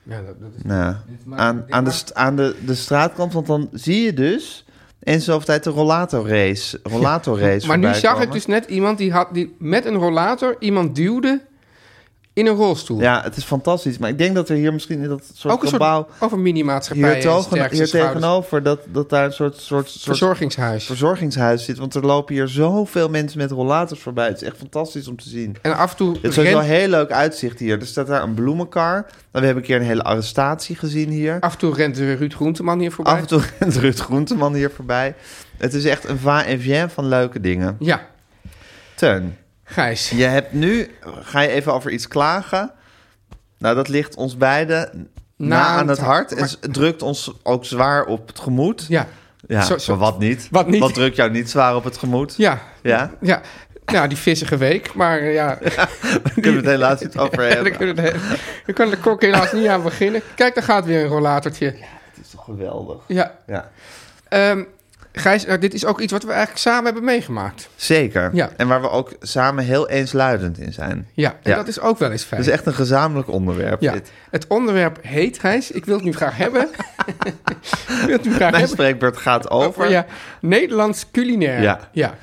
Ja, dat, dat is...
Nou,
maakt-
aan,
dit
aan, de,
maakt-
st- aan de, de straatkant, want dan zie je dus... En zoveel tijd de rollatorrace. Rollatorrace
Maar nu
voorbij
zag dus-
komen.
ik dus net iemand die, had, die met een rollator iemand duwde in een rolstoel.
Ja, het is fantastisch. Maar ik denk dat er hier misschien in dat soort
Ook een
gebouw...
soort over minimaatschappij
hier,
en
tegen,
sterkste
hier
schouders.
tegenover, dat, dat daar een soort, soort, soort
Verzorgingshuis.
verzorgingshuis zit. Want er lopen hier zoveel mensen met rollators voorbij. Het is echt fantastisch om te zien.
En af en toe
Het is sowieso
rent,
een heel leuk uitzicht hier. Er staat daar een bloemenkar. Nou, we hebben een keer een hele arrestatie gezien hier.
af en toe rent er Ruud Groenteman hier voorbij.
Af en toe rent Ruud Groenteman hier voorbij. Het is echt een va en vient van leuke dingen.
Ja,
Teun,
Gijs.
je hebt nu... Ga je even over iets klagen? Nou, dat ligt ons beiden na, aan het hart. En
Nou, Maar-
s- drukt ons ook zwaar op het gemoed.
ja,
Ja,
Zo- zo-
maar wat niet?
wat niet?
drukt jou niet zwaar op het gemoed?
ja,
Ja?
ja. Nou, die vissige week, maar eh, ja,
Daar kunnen we het helaas niet over
daar
hebben.
kunnen we het- daar kan de kok helaas niet aan beginnen. Kijk, daar gaat weer een rollatortje.
Het is toch geweldig?
Ja,
Ja.
Ehm, Gijs, nou, dit is ook iets wat we eigenlijk samen hebben meegemaakt.
Zeker.
Ja.
En waar we ook samen heel eensluidend in zijn.
Ja, en
Ja.
dat is ook wel eens fijn.
Het is echt een gezamenlijk onderwerp.
ja.
Dit.
Het onderwerp heet, Gijs, ik wil het nu graag hebben. ik wil het nu graag
Mijn
hebben. Oh,
spreekbeurt gaat over.
Ja, Nederlands culinair.
Ja.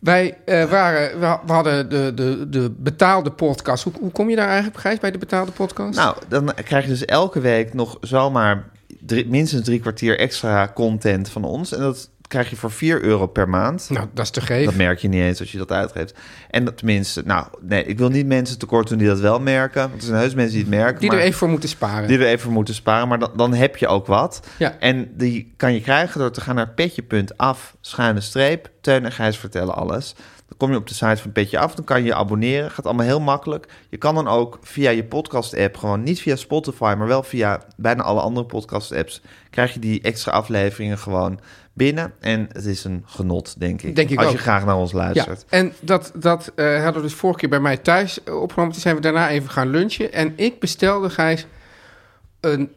Wij eh, waren, we, ha- we hadden de, de, de betaalde podcast. Hoe, hoe kom je daar eigenlijk, Gijs, bij de betaalde podcast?
Nou, dan krijg je dus elke week nog zomaar drie- minstens drie kwartier extra content van ons. En dat krijg je voor 4 euro per maand.
Nou, dat is te geven.
Dat merk je niet eens als je dat uitgeeft. En dat tenminste, nou, nee, ik wil niet mensen tekort doen die dat wel merken. Want er zijn heus mensen die het merken.
die
maar-
er even voor moeten sparen.
Die er even voor moeten sparen, maar dan, dan heb je ook wat.
Ja.
En die kan je krijgen door te gaan naar petje.af, schuine streep, Teun en Gijs vertellen alles. Dan kom je op de site van Petje Af, dan kan je je abonneren. Gaat allemaal heel makkelijk. Je kan dan ook via je podcast-app, gewoon niet via Spotify, maar wel via bijna alle andere podcast-apps, krijg je die extra afleveringen gewoon binnen. En het is een genot, denk ik.
Denk ik
als
ook.
je graag naar ons
Ja,
luistert.
en dat, dat eh, hadden we dus vorige keer bij mij thuis eh, opgenomen. Toen zijn we daarna even gaan lunchen. En ik bestelde, Gijs, een,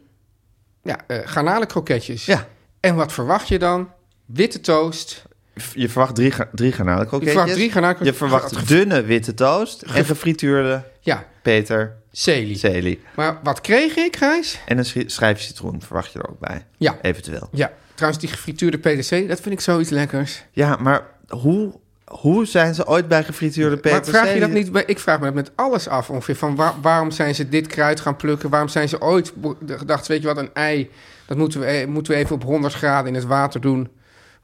ja, eh garnalenkroketjes.
Ja.
En wat verwacht je dan? Witte toast.
Je verwacht drie, ga- drie garnalenkroketjes.
Je verwacht drie garnalenkroketjes.
Je verwacht dunne witte toast en gefrituurde
Ja,
Peter
celie.
Celie.
Maar wat kreeg ik, Gijs?
En een schri- schijf citroen verwacht je er ook bij.
Ja.
Eventueel.
Ja, trouwens, die gefrituurde PDC, dat vind ik zoiets lekkers.
Ja, maar hoe, hoe zijn ze ooit bij gefrituurde Peter
Maar vraag je dat
Celie?
niet? bij- Ik vraag me dat met alles af ongeveer. Van waar- waarom zijn ze dit kruid gaan plukken? Waarom zijn ze ooit be- de- gedacht, weet je wat, een ei... dat moeten we, e- moeten we even op 100 graden in het water doen.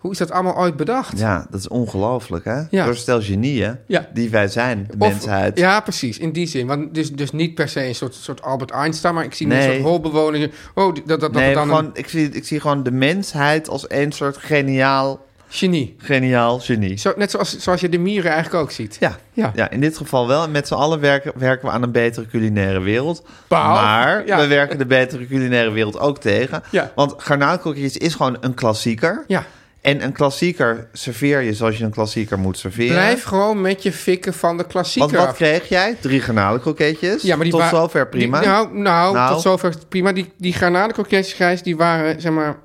Hoe is dat allemaal ooit bedacht?
Ja, dat is ongelooflijk, hè?
Ja.
Door stel genieën,
Ja.
die wij zijn, de
Of-
mensheid.
Ja, precies, in die zin. Want dus, dus niet per se een soort, soort Albert Einstein... maar ik zie nu
Nee.
een soort holbewoner. Oh, die- dat, dat, dat
nee,
het dan
gewoon,
een
ik, zie, ik zie gewoon de mensheid als een soort geniaal,
genie.
geniaal genie.
Zo, net zoals, zoals je de mieren eigenlijk ook ziet.
Ja.
Ja.
Ja. in dit geval wel. En met z'n allen werken, werken we aan een betere culinaire wereld.
Behalve-
maar
ja.
we werken de betere culinaire wereld ook tegen.
Ja.
Want garnaalkoekjes is gewoon een klassieker.
Ja.
En een klassieker serveer je zoals je een klassieker moet serveren.
Blijf gewoon met je fikken van de
Want
klassieker
wat
af.
kreeg jij? Drie garnalenkroketjes.
Ja, maar die
Tot
wa-
zover prima.
die- nou, nou,
Nou.
tot zover is het prima. Die, die garnalenkroketjes, Gijs, die waren zeg maar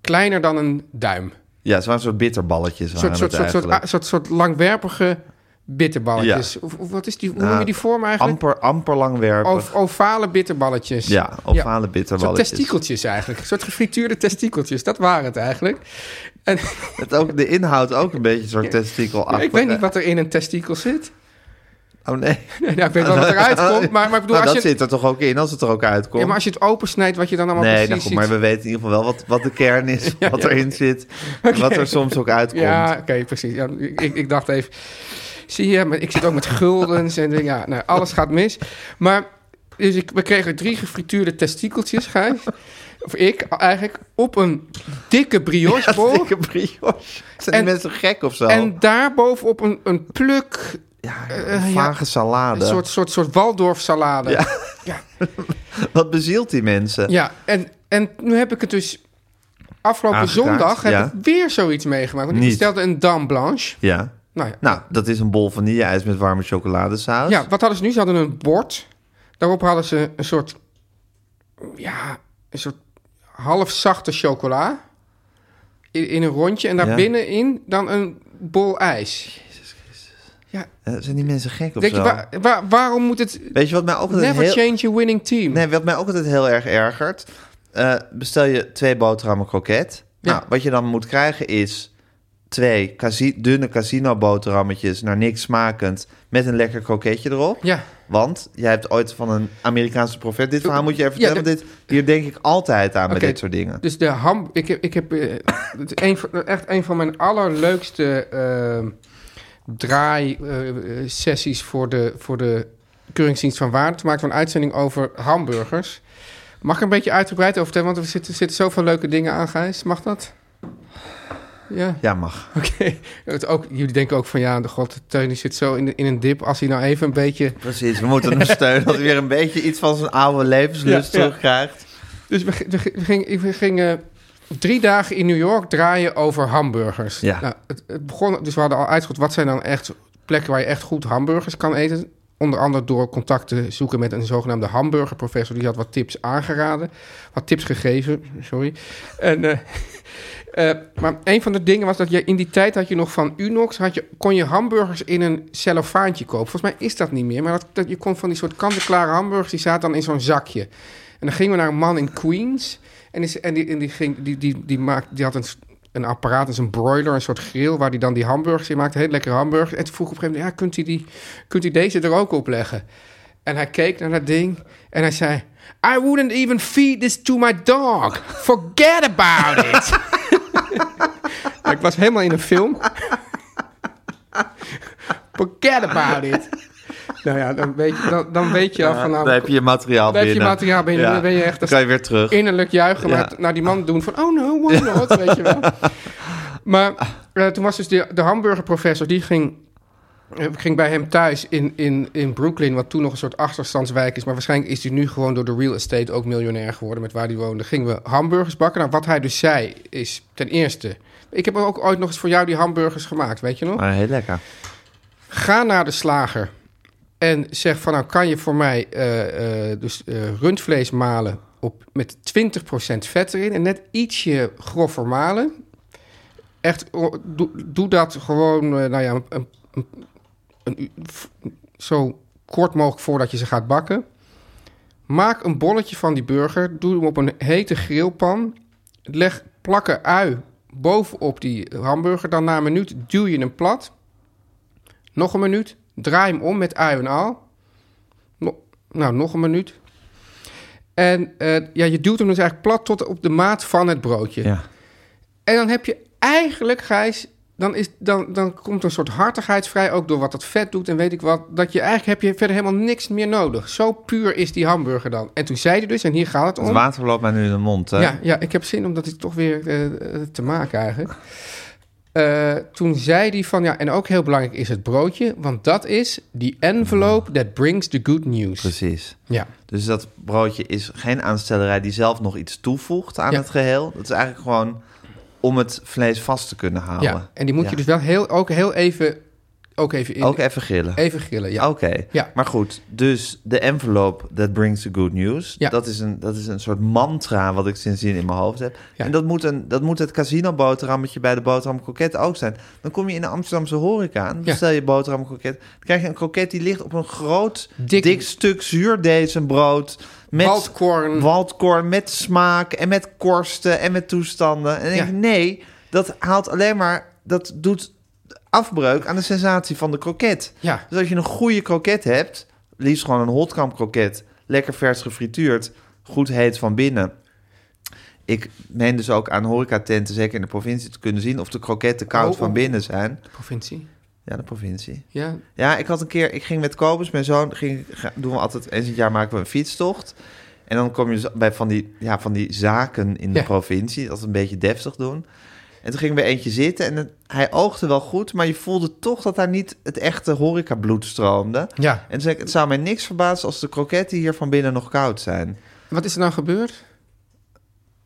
kleiner dan een duim.
Ja, ze waren soort bitterballetjes.
Een
Waren
soort, soort,
het
soort, soort,
eigenlijk.
ah, soort, soort langwerpige bitterballetjes. Of, of wat is die, hoe noem je
Nou,
die vorm eigenlijk?
Amper, amper langwerpig.
Of ovale bitterballetjes.
Ja, ovale
Oh, Soort
bitterballetjes.
testikeltjes eigenlijk. Een soort gefrituurde testikeltjes. Dat waren het eigenlijk. En,
Het ook, de inhoud ook een beetje een soort testikelachtig.
ik weet niet wat er in een testikel zit.
Oh nee.
Nee, nou, ik weet wel wat eruit komt. Maar, maar ik bedoel,
Nou,
als,
dat
je,
zit er toch ook in, als het er ook uitkomt.
ja, maar als je het opensnijdt, wat je dan allemaal
nee,
precies
nou goed,
ziet.
maar we weten in ieder geval wel wat, wat de kern is,
Ja,
wat
ja.
erin zit, en wat er soms ook uitkomt.
Ja, oké, precies. Ja, ik, ik- ik dacht even, zie je, maar ik zit ook met guldens en ja, nou, alles gaat mis. Maar dus ik, we kregen drie gefrituurde testikeltjes, Gijs. Of ik eigenlijk, op een dikke briochebol.
Dikke brioche. Zijn
En-
die mensen gek of zo?
en daarbovenop een, een pluk,
Ah, ja,
eh,
een
ja.
vage
een
salade.
soort, soort, soort Waldorfsalade.
Ja. Wat bezielt die mensen?
Ja, en, en nu heb ik het dus afgelopen
Aangekaart,
zondag heb
ja.
ik weer zoiets meegemaakt. Want ik
Niet.
bestelde een dame blanche.
Ja.
Nou ja,
Nou, dat is een bol vanille-ijs met warme chocoladesaus.
Ja, wat hadden ze nu? Ze hadden een bord. Daarop hadden ze een soort... Ja, een soort halfzachte chocola. In, in een rondje. En daar
Ja.
binnenin dan een bol ijs.
Eh, Zijn die mensen gek of
Denk je,
zo?
waar- waar- waarom moet het...
Weet je wat mij ook altijd
Never
heel...
change your winning team.
Nee, wat mij ook altijd heel erg ergert. eh, bestel je twee boterhammen kroket.
Ja.
Nou, wat je dan moet krijgen is twee casi dunne casino-boterhammetjes naar niks smakend... met een lekker kroketje erop.
Ja.
Want jij hebt ooit van een Amerikaanse profet... Dit verhaal moet je even
Ja,
vertellen.
de-
want dit, hier denk ik altijd aan bij
Oké,
dit soort dingen.
Dus de ham... Ik heb, ik heb eh, het is een, van- echt een van mijn allerleukste ehm, draai-sessies voor, de, voor de Keuringsdienst van Waarde. Toen maakten we een uitzending over hamburgers. Mag ik er een beetje uitgebreid over vertellen? Want er zitten, zitten zoveel leuke dingen aan, Gijs. Mag dat? Ja.
Ja, mag.
Oké. Het ook- Jullie denken ook van ja, de god, Teun die zit zo in, de- in een dip. Als hij nou even een beetje...
Precies, we moeten hem steunen... als hij weer een beetje iets van zijn oude levenslust
Ja, ja.
terugkrijgt.
Dus we, g- we g- we ging- ik- we gingen drie dagen in New York draaien over hamburgers.
Ja.
Nou, het, het begon, dus we hadden al uitgezocht wat zijn dan echt plekken waar je echt goed hamburgers kan eten. Onder andere door contact te zoeken met een zogenaamde hamburgerprofessor. Die had wat tips aangeraden. Wat tips gegeven, sorry. En, eh, eh, maar een van de dingen was dat je in die tijd had je nog van Unox... Had je, kon je hamburgers in een cellofaantje kopen. Volgens mij is dat niet meer. Maar dat, dat, je kon van die soort kant-en-klare hamburgers... die zaten dan in zo'n zakje. En dan gingen we naar een man in Queens. En, is, en, die, en die, ging, die, die, die, maakt, die had een, s- een apparaat, dus een broiler, een soort grill... waar hij dan die hamburgers in maakte. Heel lekkere hamburgers. En toen vroeg ik op een gegeven moment... Ja, kunt u, die, kunt u deze er ook op leggen? En hij keek naar dat ding en hij zei... I wouldn't even feed this to my dog. Forget about it. Ja, ik was helemaal in een film. Forget about it. Nou ja, dan weet je, dan, dan weet je al van... nou,
Dan heb je je materiaal
dan heb
binnen.
je materiaal binnen, dan ben je echt
Dan
een-
kan je weer terug.
innerlijk juichen
Ja.
maar t- naar die man doen van... oh no, why not, weet je wel. Maar eh, toen was dus de, de hamburgerprofessor... die ging, eh, ging bij hem thuis in, in, in Brooklyn... wat toen nog een soort achterstandswijk is... maar waarschijnlijk is hij nu gewoon door de real estate... ook miljonair geworden met waar hij woonde. Gingen we hamburgers bakken. Nou, wat hij dus zei is ten eerste... ik heb ook ooit nog eens voor jou die hamburgers gemaakt, weet je nog?
Maar heel lekker.
Ga naar de slager en zeg van nou kan je voor mij eh, eh, dus eh, rundvlees malen op, met 20% vet erin en net ietsje grover malen. Echt, oh, doe, doe dat gewoon, eh, nou ja, een, een, een u- f- zo kort mogelijk voordat je ze gaat bakken. Maak een bolletje van die burger, doe hem op een hete grillpan, leg plakken ui bovenop die hamburger, dan na een minuut duw je hem plat. Nog een minuut. Draai hem om met ui en al. No- nou, nog een minuut. En eh, ja, je duwt hem dus eigenlijk plat tot op de maat van het broodje.
Ja.
En dan heb je eigenlijk, Gijs, dan, is, dan, dan komt een soort hartigheid vrij... ook door wat dat vet doet en weet ik wat... dat je eigenlijk heb je verder helemaal niks meer nodig. Zo puur is die hamburger dan. En toen zei hij dus, en hier gaat het om...
Het water loopt mij nu in de mond. hè?
Ja, ja, ik heb zin om dat het toch weer eh, eh, te maken eigenlijk. Eh, toen zei hij van, ja, en ook heel belangrijk is het broodje, want dat is die envelope that brings the good news.
Mm. Precies.
Ja,
Dus dat broodje is geen aanstellerij die zelf nog iets toevoegt aan
Ja.
het geheel. Dat is eigenlijk gewoon om het vlees vast te kunnen halen.
ja, en die moet
Ja.
je dus wel heel, ook heel even, ook even, in,
Ook even grillen.
even grillen. Ja.
Oké,
Ja.
maar goed. Dus de envelope that brings the good news.
Ja.
Dat, is een, dat is een soort mantra wat ik sindsdien in mijn hoofd heb.
Ja.
En dat moet, een, dat moet het casino boterhammetje bij de boterham kroket ook zijn. Dan kom je in de Amsterdamse horeca aan.
Ja.
Bestel je boterham kroket. Dan krijg je een kroket die ligt op een groot, dik,
Dik-
stuk zuurdezenbrood. Met
Waldkorn.
waldkorn met smaak en met korsten en met toestanden. En dan denk
Ja.
ik, nee, dat haalt alleen maar... Dat doet afbreuk aan de sensatie van de kroket.
Ja.
Dus als je een goede kroket hebt, liefst gewoon een hotkamp kroket, lekker vers gefrituurd, goed heet van binnen. Ik meen dus ook aan horecatenten, zeker in de provincie, te kunnen zien of de kroketten koud
Oh, oh.
van binnen zijn.
Provincie.
Ja, de provincie.
Ja,
Ja, ik had een keer, ik ging met Kobus, mijn zoon, ging, ga- doen we altijd eens in het jaar maken we een fietstocht. En dan kom je dus bij van die, ja, van die zaken in de
Ja.
provincie, dat een beetje deftig doen. En toen gingen we eentje zitten en het- hij oogde wel goed, maar je voelde toch dat daar niet het echte horecabloed stroomde.
Ja.
En toen zei ik, het zou mij niks verbazen als de kroketten hier van binnen nog koud zijn.
wat is er nou gebeurd?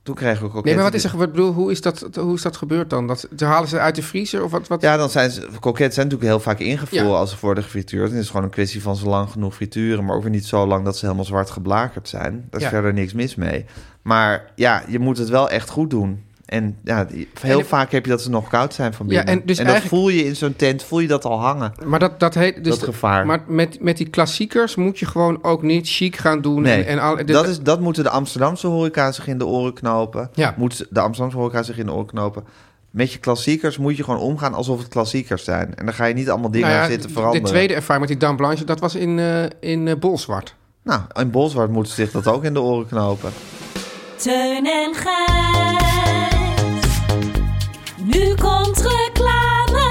Toen kregen we kroketten.
Nee, maar wat
die-
is er gebeurd? Ik bedoel, hoe is dat, hoe is dat gebeurd dan? Dat, ze halen ze uit de vriezer of wat? wat?
Ja, dan zijn ze, kroketten zijn natuurlijk heel vaak ingevuld
Dus- Ja.
als ze worden gefrituurd. En het is gewoon een kwestie van ze lang genoeg frituren, maar ook weer niet zo lang dat ze helemaal zwart geblakerd zijn. Daar is
Ja.
verder niks mis mee. Maar ja, je moet het wel echt goed doen. En ja, die- heel
En-
vaak heb je dat ze nog koud zijn van
Ja,
binnen.
en dus
dat
eigenlijk-
voel je in zo'n tent, voel je dat al hangen.
Maar dat, dat heet... Dus
Dat gevaar.
Maar met, met die klassiekers moet je gewoon ook niet chic gaan doen.
Nee,
en, en al,
dat, is, dat moeten de Amsterdamse horeca zich in de oren knopen.
Ja.
Moet de Amsterdamse horeca zich in de oren knopen. met je klassiekers moet je gewoon omgaan alsof het klassiekers zijn. En dan ga je niet allemaal dingen
Nou ja,
zitten
de
veranderen.
tweede ervaring met die Dame Blanche, dat was in, eh in eh, Bolsward.
Nou, in Bolsward moeten ze zich dat ook in de oren knopen.
Teun en Gijs. Nu komt reclame.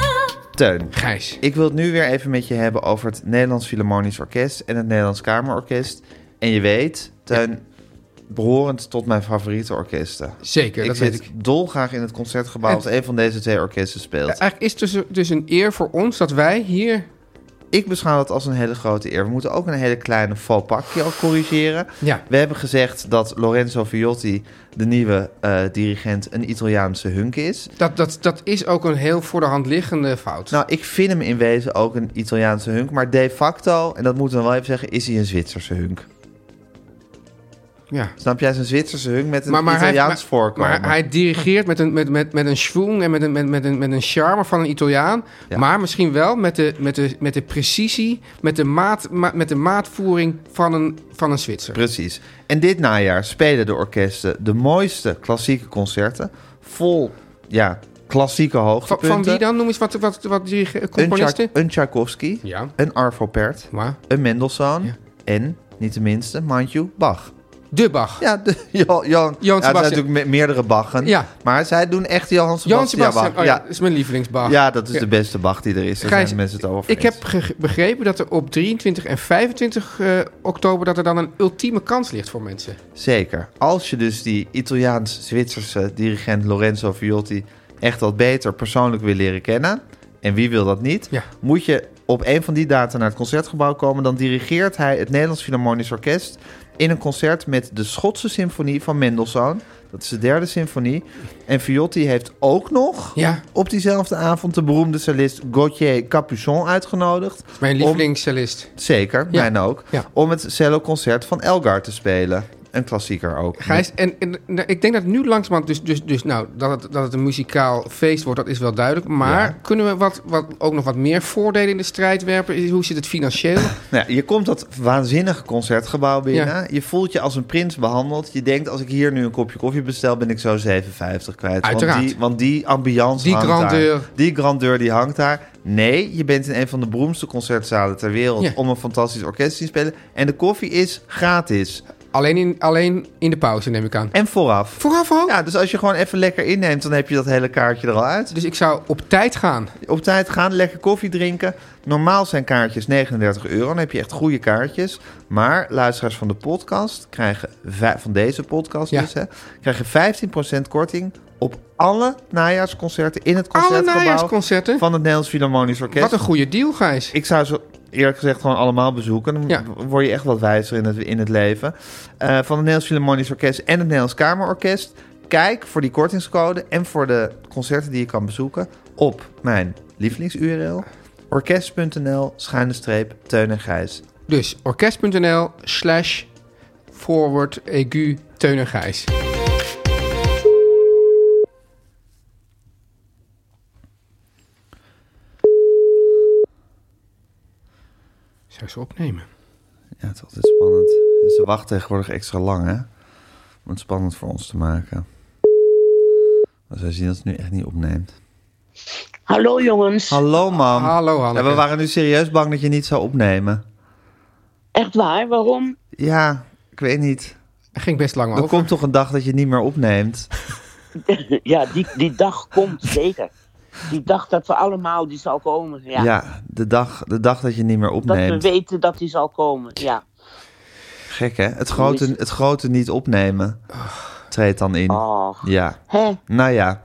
Teun,
Gijs.
ik wil het nu weer even met je hebben over het Nederlands Philharmonisch Orkest en het Nederlands Kamerorkest. En je weet, Teun, behorend tot mijn favoriete orkesten.
Zeker,
ik
dat
zit
weet ik.
dolgraag in het concertgebouw als een van deze twee orkesten speelt.
Eigenlijk is het dus, dus een eer voor ons dat wij hier...
Ik beschouw dat als een hele grote eer. We moeten ook een hele kleine faux pakje al corrigeren.
Ja.
We hebben gezegd dat Lorenzo Viotti, de nieuwe eh, dirigent, een Italiaanse hunk is.
Dat, dat, dat is ook een heel voor de hand liggende fout.
Nou, ik vind hem in wezen ook een Italiaanse hunk. Maar de facto, en dat moeten we wel even zeggen, is hij een Zwitserse hunk.
ja.
Snap jij? Hij is een Zwitserse hunk met een Italiaans
maar-
voorkomen.
Maar hij dirigeert met een, met, met, met een schwung en met een, met, met, een, met een charme van een Italiaan.
Ja.
Maar misschien wel met de, met de, met de precisie, met de, maat, ma- met de maatvoering van een, van een Zwitser.
Precies. En dit najaar spelen de orkesten de mooiste klassieke concerten. Vol, ja, klassieke
Van,
hoogtepunten.
van wie dan? Noem eens wat, wat, wat dirige-
Een, Tchaik-
componisten.
een Tchaikovsky,
Ja.
een Arvo Pärt,
Maar
een Mendelssohn
Ja.
en, niet de minste, mind you, Bach.
de Bach.
Ja, de, Joh- Johan, ja, er zijn
Sebastian.
natuurlijk me- meerdere Bachen.
Ja.
Maar zij doen echt Johan Sebastian,
Johan Sebastian.
Bach.
Oh, ja,
ja.
dat is mijn lievelingsbach.
Ja, dat is de beste Bach die er is. Daar zijn
Gijs,
de mensen het over
Ik
eens.
heb ge- begrepen dat er op 23 en 25 eh, oktober dat er dan een ultieme kans ligt voor mensen.
Zeker. Als je dus die Italiaans-Zwitserse dirigent Lorenzo Viotti... echt wat beter persoonlijk wil leren kennen... en wie wil dat niet...
Ja.
moet je op een van die data naar het Concertgebouw komen... dan dirigeert hij het Nederlands Philharmonisch Orkest... in een concert met de Schotse symfonie van Mendelssohn. Dat is de derde symfonie. En Viotti heeft ook nog...
Ja.
op diezelfde avond de beroemde cellist Gauthier Capuçon uitgenodigd...
Mijn
om-
lievelingscellist.
Zeker,
Ja.
mijn ook.
Ja.
Om het celloconcert van Elgar te spelen. Een klassieker ook.
Gijs, en, en nou, ik denk dat nu langzamerhand, dus, dus, dus nou, dat het, dat het een muzikaal feest wordt, dat is wel duidelijk. Maar kunnen we wat, wat, ook nog wat meer voordelen in de strijd werpen? Is- Hoe zit het financieel?
Nou, ja, je komt dat waanzinnige concertgebouw binnen.
Ja.
Je voelt je als een prins behandeld. Je denkt, als ik hier nu een kopje koffie bestel, ben ik zo 7,50 kwijt.
Uiteraard.
Want die, want die ambiance
Die
hangt
grandeur.
daar. Die grandeur die hangt daar. Nee, je bent in een van de beroemdste concertzalen ter wereld...
Ja.
om een fantastisch orkest te zien spelen. En de koffie is gratis.
alleen, in, alleen in de pauze, neem ik aan.
En vooraf.
Vooraf ook?
Ja, dus als je gewoon even lekker inneemt, dan heb je dat hele kaartje er al uit.
Dus ik zou op tijd gaan.
Op tijd gaan, lekker koffie drinken. Normaal zijn kaartjes 39 euro. Dan heb je echt goede kaartjes. Maar luisteraars van de podcast krijgen vij- van deze podcast
Ja.
dus, hè, krijgen 15% korting op alle najaarsconcerten in het
Alle
concertgebouw
najaarsconcerten.
van het Nederlands Philharmonisch Orkest.
Wat een goede deal, Gijs.
Ik zou ze eerlijk gezegd gewoon allemaal bezoeken. Dan
Ja.
word je echt wat wijzer in het, in het leven. Eh, van het Nederlands Philharmonisch Orkest en het Nederlands Kamerorkest. Kijk voor die kortingscode en voor de concerten die je kan bezoeken op mijn lievelings-URL. Orkest.nl, schuine streep, Teun en Gijs.
Dus orkest.nl slash forward egu Teun en Gijs. Zou ze opnemen?
Ja, het is altijd spannend. Ze wachten tegenwoordig extra lang, hè? Om het spannend voor ons te maken. Maar zij zien dat het nu echt niet opneemt.
Hallo jongens,
Hallo, mam.
Hallo, Hanneke.
Ja, we waren nu serieus bang dat je niet zou opnemen.
echt waar, waarom?
Ja, ik weet niet.
Het ging best lang
Er
over.
komt toch een dag dat je het niet meer opneemt.
Ja, die, die dag komt zeker. Die dag dat we allemaal, die zal komen. Ja.
Ja, de, dag, de dag dat je het niet meer
dat
opneemt.
we weten dat die zal komen, ja.
Gek hè? Het grote, het grote niet opnemen
Oh.
treedt dan in.
Och,
Ja,
hè,
nou ja.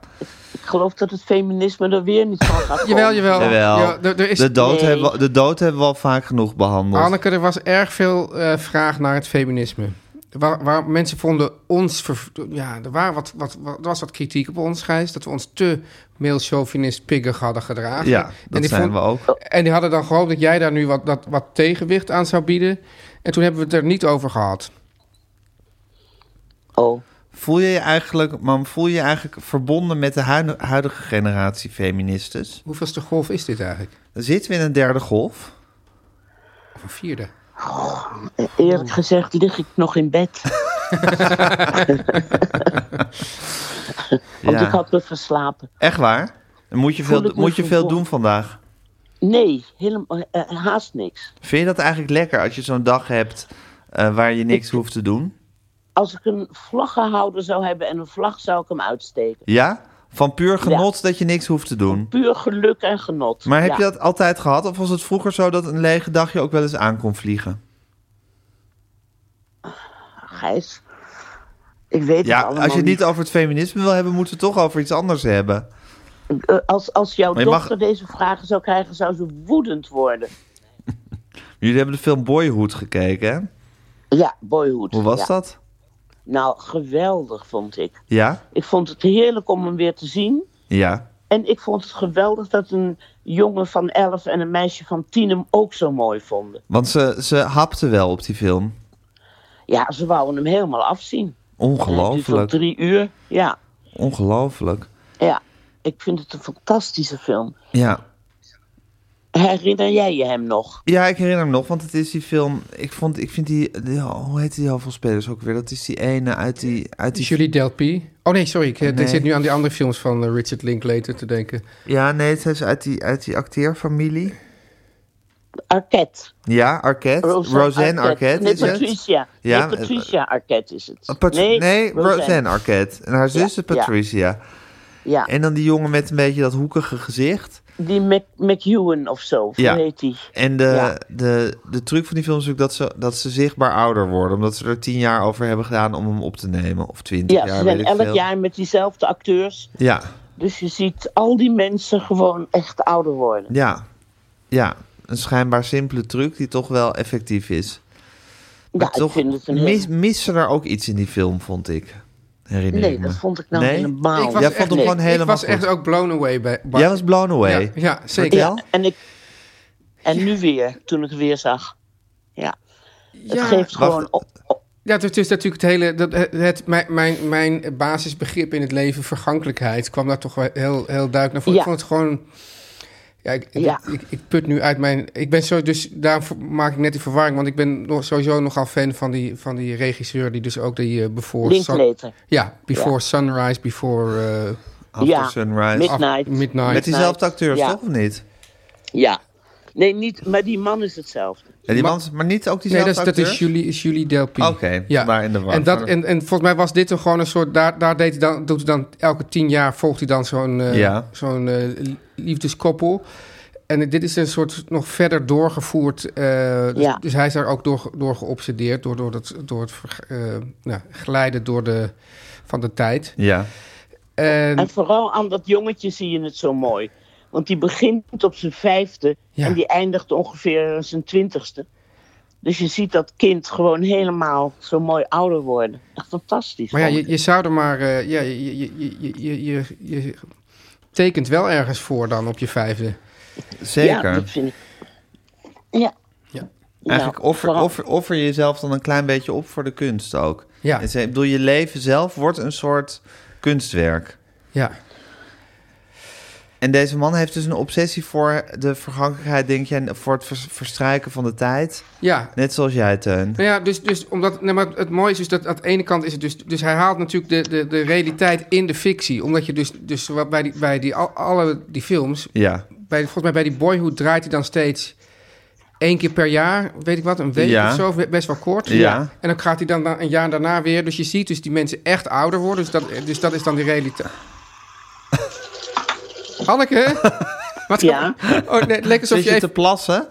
ik geloof dat het feminisme er weer niet van gaat komen.
Jawel, jawel.
Jawel.
Ja, er, er is,
De dood,
Nee.
hebben we, de dood hebben we al vaak genoeg behandeld.
Anneke, er was erg veel eh, vraag naar het feminisme. Waar, waar mensen vonden ons... ver- ja, er, waren wat, wat, wat- er was wat kritiek op ons, Gijs. Dat we ons te male-chauvinist piggig hadden gedragen.
ja,
En
dat
ik
zijn
vond-
we
Oh.
ook.
En die hadden dan gehoopt dat jij daar nu wat, dat, wat tegenwicht aan zou bieden. En toen hebben we het er niet over gehad.
Oh,
Voel je je eigenlijk, mam, voel je je eigenlijk verbonden met de huine- huidige generatie feministes?
Hoeveelste golf is dit eigenlijk?
Zitten we in een derde golf?
Of een vierde?
eerlijk
Oh.
gezegd lig ik nog in bed. Want
Ja.
ik had me verslapen.
Echt waar? En Moet je
Oh, Voel
veel,
ik me
moet je veel
vervol-
doen vandaag?
Nee, helemaal, eh, haast niks.
Vind je dat eigenlijk lekker als je zo'n dag hebt eh, waar je niks hoeft te doen?
Als ik een vlaggenhouder zou hebben en een vlag, zou ik hem uitsteken.
Ja? Van puur genot dat je niks hoeft te doen.
Puur geluk en genot.
Maar heb
Ja.
je dat altijd gehad? Of was het vroeger zo dat een lege dagje ook wel eens aan kon vliegen?
Gijs, ik weet
Ja,
het allemaal
als je het niet over het feminisme wil hebben, moeten we het toch over iets anders hebben.
Eh, Als, als jouw
Maar je mag-
dochter deze vragen zou krijgen, zou ze woedend worden.
Jullie hebben de film Boyhood gekeken, hè?
Ja, boyhood.
Hoe was
Ja.
dat?
Nou, geweldig vond ik.
Ja?
Ik vond het heerlijk om hem weer te zien.
Ja.
En ik vond het geweldig dat een jongen van 11 en een meisje van 10 hem ook zo mooi vonden.
Want ze, ze hapte wel op die film.
Ja, ze wouden hem helemaal afzien. Tot
Ongelooflijk.
drie uur. Ja,
Ongelooflijk.
ja. Ik vind het een fantastische film.
Ja.
Herinner jij je hem nog?
Ja, ik herinner me nog, want het is die film. Ik, vond, ik vind die, die- Hoe heet die hoofdrolspelers ook weer? Dat is die ene uit die. Uit die
Julie Delpy. Oh nee, sorry. Ik, eh,
Nee.
ik zit nu aan die andere films van eh, Richard Linklater te denken.
ja, nee, het is uit die, uit die acteerfamilie.
Arquette.
Ja, Arquette. Roseanne, Arquette,
Nee,
is het?
Patricia.
Ja,
nee, Patricia Arquette is het.
Pat- nee, Roseanne. Arquette. En haar zus
Ja,
is Patricia.
Ja,
En dan die jongen met een beetje dat hoekige gezicht.
die Mac McEwen of zo. Hoe
Ja.
heet die?
En de,
Ja.
de, de truc van die film is ook dat ze, dat ze zichtbaar ouder worden. Omdat ze er tien jaar over hebben gedaan om hem op te nemen. Of twintig
Ja,
jaar,
ze
weet
zijn
ik
elk
veel.
jaar met diezelfde acteurs.
Ja,
Dus je ziet al die mensen gewoon echt ouder worden.
ja, ja. Een schijnbaar simpele truc die toch wel effectief is.
Ja, ik
toch
vind het een
mis,
heel...
missen er ook iets in die film, vond ik. Herinner
Nee,
ik me.
dat vond ik nou
Nee?
helemaal
Ik was
Jij
echt,
vond hem
ik-
gewoon helemaal
Ik was
goed.
echt ook blown away bij. bij-
Jij was blown away.
ja, ja, zeker.
Vertel.
Ja, en, ik, en nu weer, toen ik het weer zag. Ja, het geeft
wacht.
gewoon... Op, op-
Ja, het is natuurlijk het hele. Dat, het, het- mijn, mijn, mijn basisbegrip in het leven, vergankelijkheid, kwam daar toch wel heel, heel duidelijk naar voren.
Ja.
Ik vond het gewoon. Ja, ik,
Ja.
Ik, ik put nu uit mijn. Ik ben zo, dus daar maak ik net die verwarring, want ik ben nog- sowieso nogal fan van die, van die regisseur die dus ook die eh, Before
Linklater.
ja, Before Sunrise, Before eh,
After
ja,
Sunrise.
Midnight.
af- Midnight.
Met diezelfde acteurs,
Ja.
toch of niet?
Ja. Nee, niet, maar die man is hetzelfde.
Ja, die
Maar-
man, maar niet ook
Nee,
diezelfde
dat is, dat is
acteurs?
Julie, is Julie Delpy.
Oké, daar in de war.
En, dat, en, en volgens mij was dit dan gewoon een soort... Daar, daar deed hij dan, doet hij dan elke tien jaar... volgt hij dan zo'n eh,
Ja.
zo'n eh, li- liefdeskoppel. En dit is een soort nog verder doorgevoerd... eh, dus,
Ja.
dus hij is daar ook door, door geobsedeerd... door, door, dat, door het ver- eh, nou, glijden door de, van de tijd.
Ja.
En,
En vooral aan dat jongetje zie je het zo mooi. Want die begint op zijn vijfde
Ja.
en die eindigt ongeveer zijn twintigste. Dus je ziet dat kind gewoon helemaal zo mooi ouder worden. Echt fantastisch.
maar ja,
vond
je,
ik.
je zou er maar... eh, ja, je, je, je, je, je, je, je tekent wel ergens voor dan op je vijfde.
Zeker.
Ja, dat vind ik. Ja.
Ja.
Eigenlijk
Nou,
offer,
vooral-
offer, offer je jezelf dan een klein beetje op voor de kunst ook.
Ja.
Het is- Ik bedoel, je leven zelf wordt een soort kunstwerk.
Ja.
En deze man heeft dus een obsessie voor de vergankelijkheid, denk je, en voor het vers- verstrijken van de tijd.
Ja,
Net zoals jij, Teun.
Nou ja, dus, dus omdat, nee, maar het mooie is dus dat aan de ene kant is het dus... Dus hij haalt natuurlijk de, de, de realiteit in de fictie. Omdat je dus, dus wat bij, die, bij die, al- alle die films...
Ja.
Bij, volgens mij bij die Boyhood draait hij dan steeds één keer per jaar. Weet ik wat, een week
Ja.
of zo, of best wel kort.
Ja.
En dan gaat hij dan na- een jaar daarna weer. Dus je ziet dus die mensen echt ouder worden. Dus dat, dus dat is dan die realiteit. Hanneke? Wat
Ja.
Oh, nee, het leek alsof
Zit
je
je
even...
te plassen?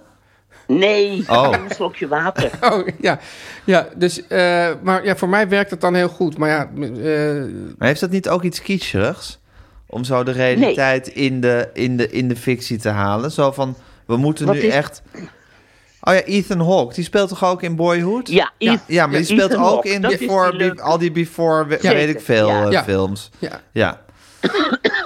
Nee,
Oh.
een slokje water.
Oh, ja. Ja, dus... eh, maar ja, voor mij werkt dat dan heel goed. Maar ja... eh,
Maar heeft dat niet ook iets kitscherigs? Om zo de realiteit in, de, in, de, in de fictie te halen. Zo van, we moeten
Wat
nu
is-
echt... Oh ja, Ethan Hawke, die speelt toch ook in Boyhood?
Ja, Ethan-
ja maar die
ja,
speelt
Ethan
ook
Hawke,
in
dat is
before,
die leuke-
Be- al die Before, we-
Zeker,
weet ik veel,
ja.
eh,
Ja.
films.
Ja.
Ja.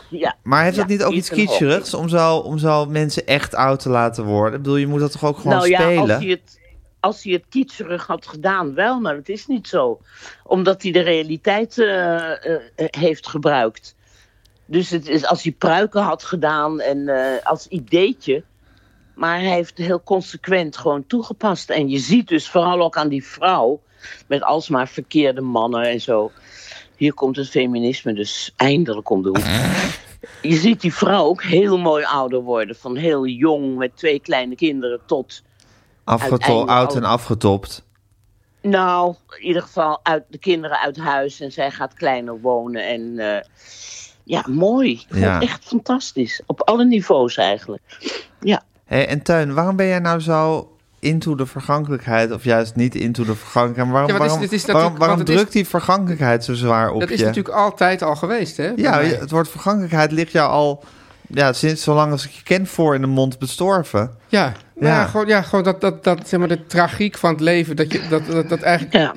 Ja.
Maar heeft
Ja,
dat niet ook iets
Ethan Hawke.
kitscherigs om zo, om zo mensen echt oud te laten worden? Ik bedoel, je moet dat toch ook gewoon
nou ja,
spelen?
Als hij, het, als hij het kitscherig had gedaan, wel, maar het is niet zo. Omdat hij de realiteit eh, eh, eh, heeft gebruikt. Dus het is als hij pruiken had gedaan en eh, als ideetje. Maar hij heeft heel consequent gewoon toegepast. En je ziet dus vooral ook aan die vrouw, met alsmaar verkeerde mannen en zo. Hier komt het feminisme dus eindelijk om de hoek. Je ziet die vrouw ook heel mooi ouder worden. Van heel jong met twee kleine kinderen tot.
Afgetol,
Uiteindelijk
oud en
al-
afgetopt.
Nou, in ieder geval uit, de kinderen uit huis en zij gaat kleiner wonen. En eh, ja, mooi. Ik vond
Ja.
het echt fantastisch. Op alle niveaus eigenlijk. Ja.
Hé, en Tuin, waarom ben jij nou zo into de vergankelijkheid of juist niet into de vergankelijkheid? Waarom,
Ja, want het is-
waarom,
het
waarom,
is natuurlijk-
waarom
want het
drukt die vergankelijkheid zo zwaar op
Dat
je?
is natuurlijk altijd al geweest, hè? bij
ja,
mij.
je- het woord vergankelijkheid ligt jou al ja, sinds zolang als ik je ken voor in de mond bestorven.
Ja, maar
Ja.
ja. gewoon, ja, gewoon dat, dat, dat, zeg maar, de tragiek van het leven. Dat je, dat, dat, dat eigenlijk,
ja.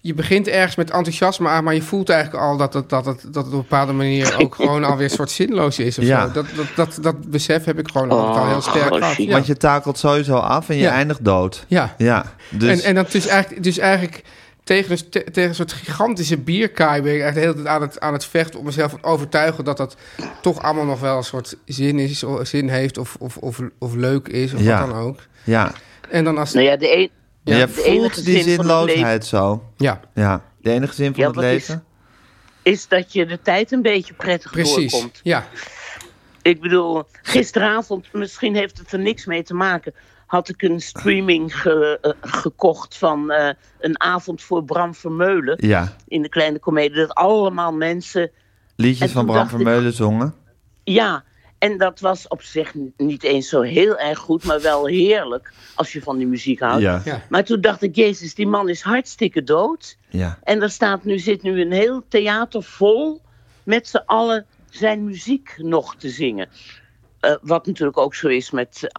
je begint ergens met enthousiasme aan, maar je voelt eigenlijk al dat het, dat het, dat het op een bepaalde manier ook gewoon alweer een soort zinloos is. Of
Ja.
zo. Dat, dat, dat, dat besef heb ik gewoon altijd al heel sterk
Oh,
gehad.
shit.
Ja.
Want je takelt sowieso af en je
Ja.
eindigt dood.
ja.
Ja, dus
En, en dat dus eigenlijk, dus eigenlijk tegen, een, st- tegen een soort gigantische bierkaai ben ik echt de hele tijd aan het, aan het vechten om mezelf te overtuigen dat dat toch allemaal nog wel een soort zin, is, of zin heeft of, of, of, of leuk is of
Ja.
wat dan ook.
ja.
En dan als...
Nou ja, de een.
je
de enige
voelt die
zin van het
zinloosheid zo.
Ja.
Ja, de enige zin van
Ja,
het
wat is-
leven.
is dat je de tijd een beetje prettig
Precies,
doorkomt.
ja.
Ik bedoel, gisteravond, misschien heeft het er niks mee te maken. Had ik een streaming ge- eh, gekocht van eh, een avond voor Bram Vermeulen
Ja,
in de Kleine Comedie. Dat allemaal mensen
liedjes
En
van
toen
Bram
dacht ik-
Vermeulen zongen.
Ja, en dat was op zich n- niet eens zo heel erg goed, maar wel heerlijk als je van die muziek houdt.
Ja,
Ja.
Maar toen dacht ik, Jezus, die man is hartstikke dood.
ja.
En er staat nu, zit nu een heel theater vol met z'n allen zijn muziek nog te zingen. Eh, wat natuurlijk ook zo is met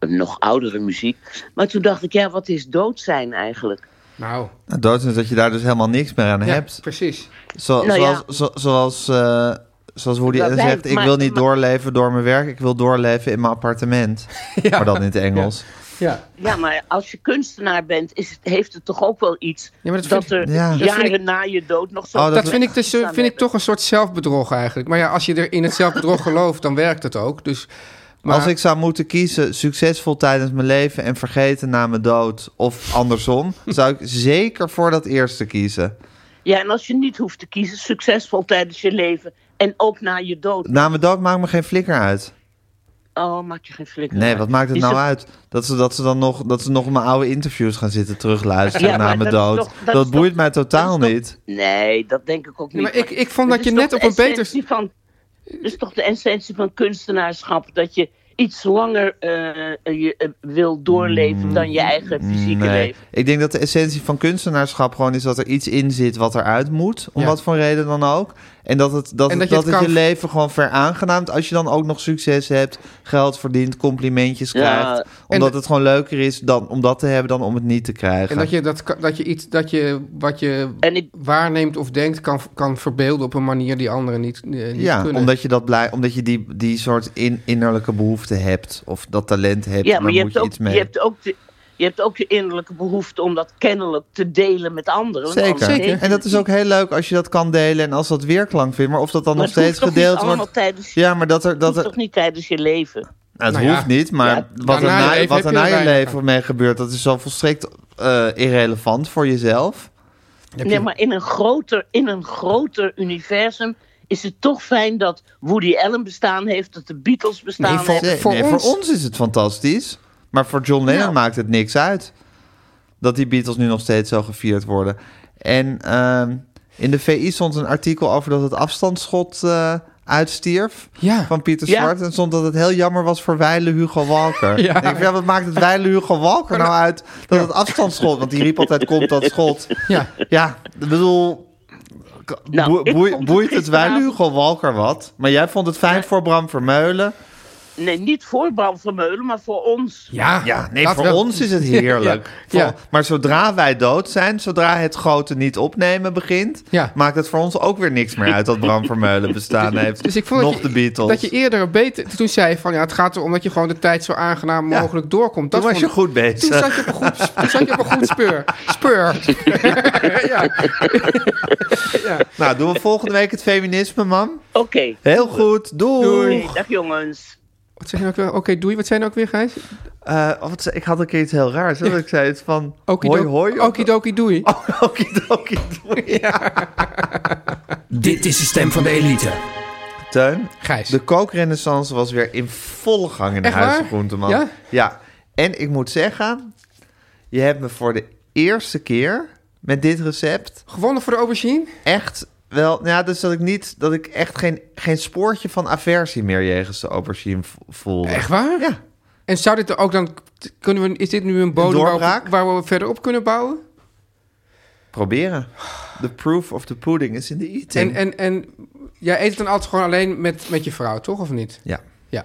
eh, nog oudere muziek. Maar toen dacht ik, ja, wat is dood zijn eigenlijk?
Nou,
Nou, dood is dat je daar dus helemaal niks meer aan
ja,
hebt.
precies.
Zo-
Nou
zoals,
ja.
zo- zoals, eh, zoals Woody
Dat
Allen
wij-
zegt, ik
maar-
wil niet
maar-
doorleven door mijn werk, ik wil doorleven in mijn appartement. Maar dan in het Engels.
Ja,
Ja, maar als je kunstenaar bent, is, het- heeft het toch ook wel iets
Ja, maar dat
dat
vind
er
Ja. dat
vind
jaren
ik-
na je dood nog zo
Oh,
dat vind ik, dus, eh, vind ik toch een soort zelfbedrog eigenlijk. Maar ja, als je er in het zelfbedrog gelooft, dan werkt het ook. Dus, maar,
Als ik zou moeten kiezen, succesvol tijdens mijn leven en vergeten na mijn dood, of andersom, zou ik zeker voor dat eerste kiezen.
Ja, en als je niet hoeft te kiezen, succesvol tijdens je leven en ook na je dood.
Na mijn dood maakt me geen flikker uit.
Oh, maak je geen flikker.
Nee,
uit.
wat maakt het
Is
nou
het-
uit? Dat ze, dat ze dan nog, dat ze nog mijn oude interviews gaan zitten terugluisteren
Ja,
na
maar
mijn
dat is
dood.
toch- dat
dat
is toch-
boeit mij totaal
dat is toch-
niet.
Nee, dat denk ik ook niet.
maar ik, ik vond
dat
dat je
is
net
toch
op
de
een beter...
essentie Van, dat is toch de essentie van kunstenaarschap, dat je iets langer eh, je, eh, wil doorleven dan je eigen fysieke
Mm, Nee.
leven.
Ik denk dat de essentie van kunstenaarschap gewoon is dat er iets in zit wat eruit moet. Om
Ja.
wat voor reden dan ook. En dat het, dat
En
het,
dat je
dat
het
het
kan-
je leven gewoon veraangenaamt. Als je dan ook nog succes hebt, geld verdient, complimentjes
Ja.
krijgt. Omdat het gewoon leuker is dan, om dat te hebben dan om het niet te krijgen.
En dat je, dat, kan- dat je iets dat je, wat je
En ik,
waarneemt of denkt kan, kan verbeelden op een manier die anderen niet, eh, niet
ja,
kunnen.
omdat je, dat blij, omdat je die, die soort in, innerlijke behoefte hebt. Of dat talent hebt,
ja, maar
maar
je
moet
hebt,
je
ook,
iets mee.
je hebt ook de... Je hebt ook je innerlijke behoefte om dat kennelijk te delen met anderen. want
Zeker.
anders delen
En dat is ook heel leuk als je dat kan delen en als dat weerklank vindt. Maar of dat dan
Maar
nog
het hoeft
steeds
toch niet
gedeeld
allemaal
wordt.
tijdens-
Ja, maar dat er,
Dat
dat
is
er,
toch niet tijdens je leven?
Nou, het
Nou ja.
hoeft niet, maar
Ja,
wat er
daarna
na,
even
wat
heb
er
je
na
er
je
weinig
leven
aan.
mee gebeurt, dat is zo volstrekt eh, irrelevant voor jezelf.
Heb je-
Nee, maar in een groter, in een groter universum is het toch fijn dat Woody Allen bestaan heeft, dat de Beatles bestaan
Nee, voor-
hebben.
Nee,
Eh, voor
nee,
ons-
voor ons is het fantastisch, maar voor John Lennon
Ja.
maakt het niks uit dat die Beatles nu nog steeds zo gevierd worden. En ehm, in de VI stond een artikel over dat het afstandsschot eh, uitstierf
Ja.
van Pieter
Ja.
Zwart. En stond dat het heel jammer was voor Weile Hugo Walker.
Ja.
Ik denk, ja, wat maakt het Weile Hugo Walker nou uit dat het afstandsschot? Want die riep altijd, komt dat schot?
ja.
Ja, ik bedoel... k-
Nou,
boe-
ik
boe-
vond het
boeit het wij
gisteravond-
Hugo Walker wat? Maar jij vond het fijn voor Bram Vermeulen.
Nee, niet voor Bram Vermeulen, maar voor ons.
Ja,
Ja, nee,
dat
voor
wel.
ons is het heerlijk.
Ja, ja.
Voor- Maar zodra wij dood zijn, zodra het grote niet opnemen begint...
Ja.
maakt het voor ons ook weer niks meer uit dat Bram Vermeulen bestaan heeft.
Dus ik vond
Nog
dat, je,
de Beatles.
dat je eerder beter... Toen zei je van, ja, het gaat erom dat je gewoon de tijd zo aangenaam
Ja.
mogelijk doorkomt. Dat
Toen was
vond-
je goed
Toen
bezig.
zat je op een goed, toen zat je op een goed speur. Speur. ja. ja.
Nou, doen we volgende week het feminisme, man.
Oké,
Heel goed. Doei.
dag jongens.
Wat zeg je nou ook weer? Oké, doei. Wat zijn nou ook weer, Gijs?
Eh, wat, ze- ik had een keer iets heel raars. Hè? Dat ik zei het van...
Okidoki-
Hoi, hoi.
Okidoki, doei.
Oh, okidoki, doei.
Dit is de stem van de elite.
Teun,
Gijs.
de kookrenaissance was weer in volle gang in de
Echt waar?
huizen Groenteman.
Ja?
ja. En ik moet zeggen, je hebt me voor de eerste keer met dit recept
Gewonnen voor de aubergine?
echt wel... Nou ja, dus dat ik niet... Dat ik echt geen, geen spoortje van aversie meer jegens de aubergine vo- voelde.
Echt waar?
Ja.
En zou dit ook dan... Kunnen we, is dit nu een bodem waar
doorbraak?
we, waar we verder op kunnen bouwen?
Proberen. The proof of the pudding is in the eating.
En, en, en jij eet het dan altijd gewoon alleen met, met je vrouw, toch? Of niet?
ja.
Ja.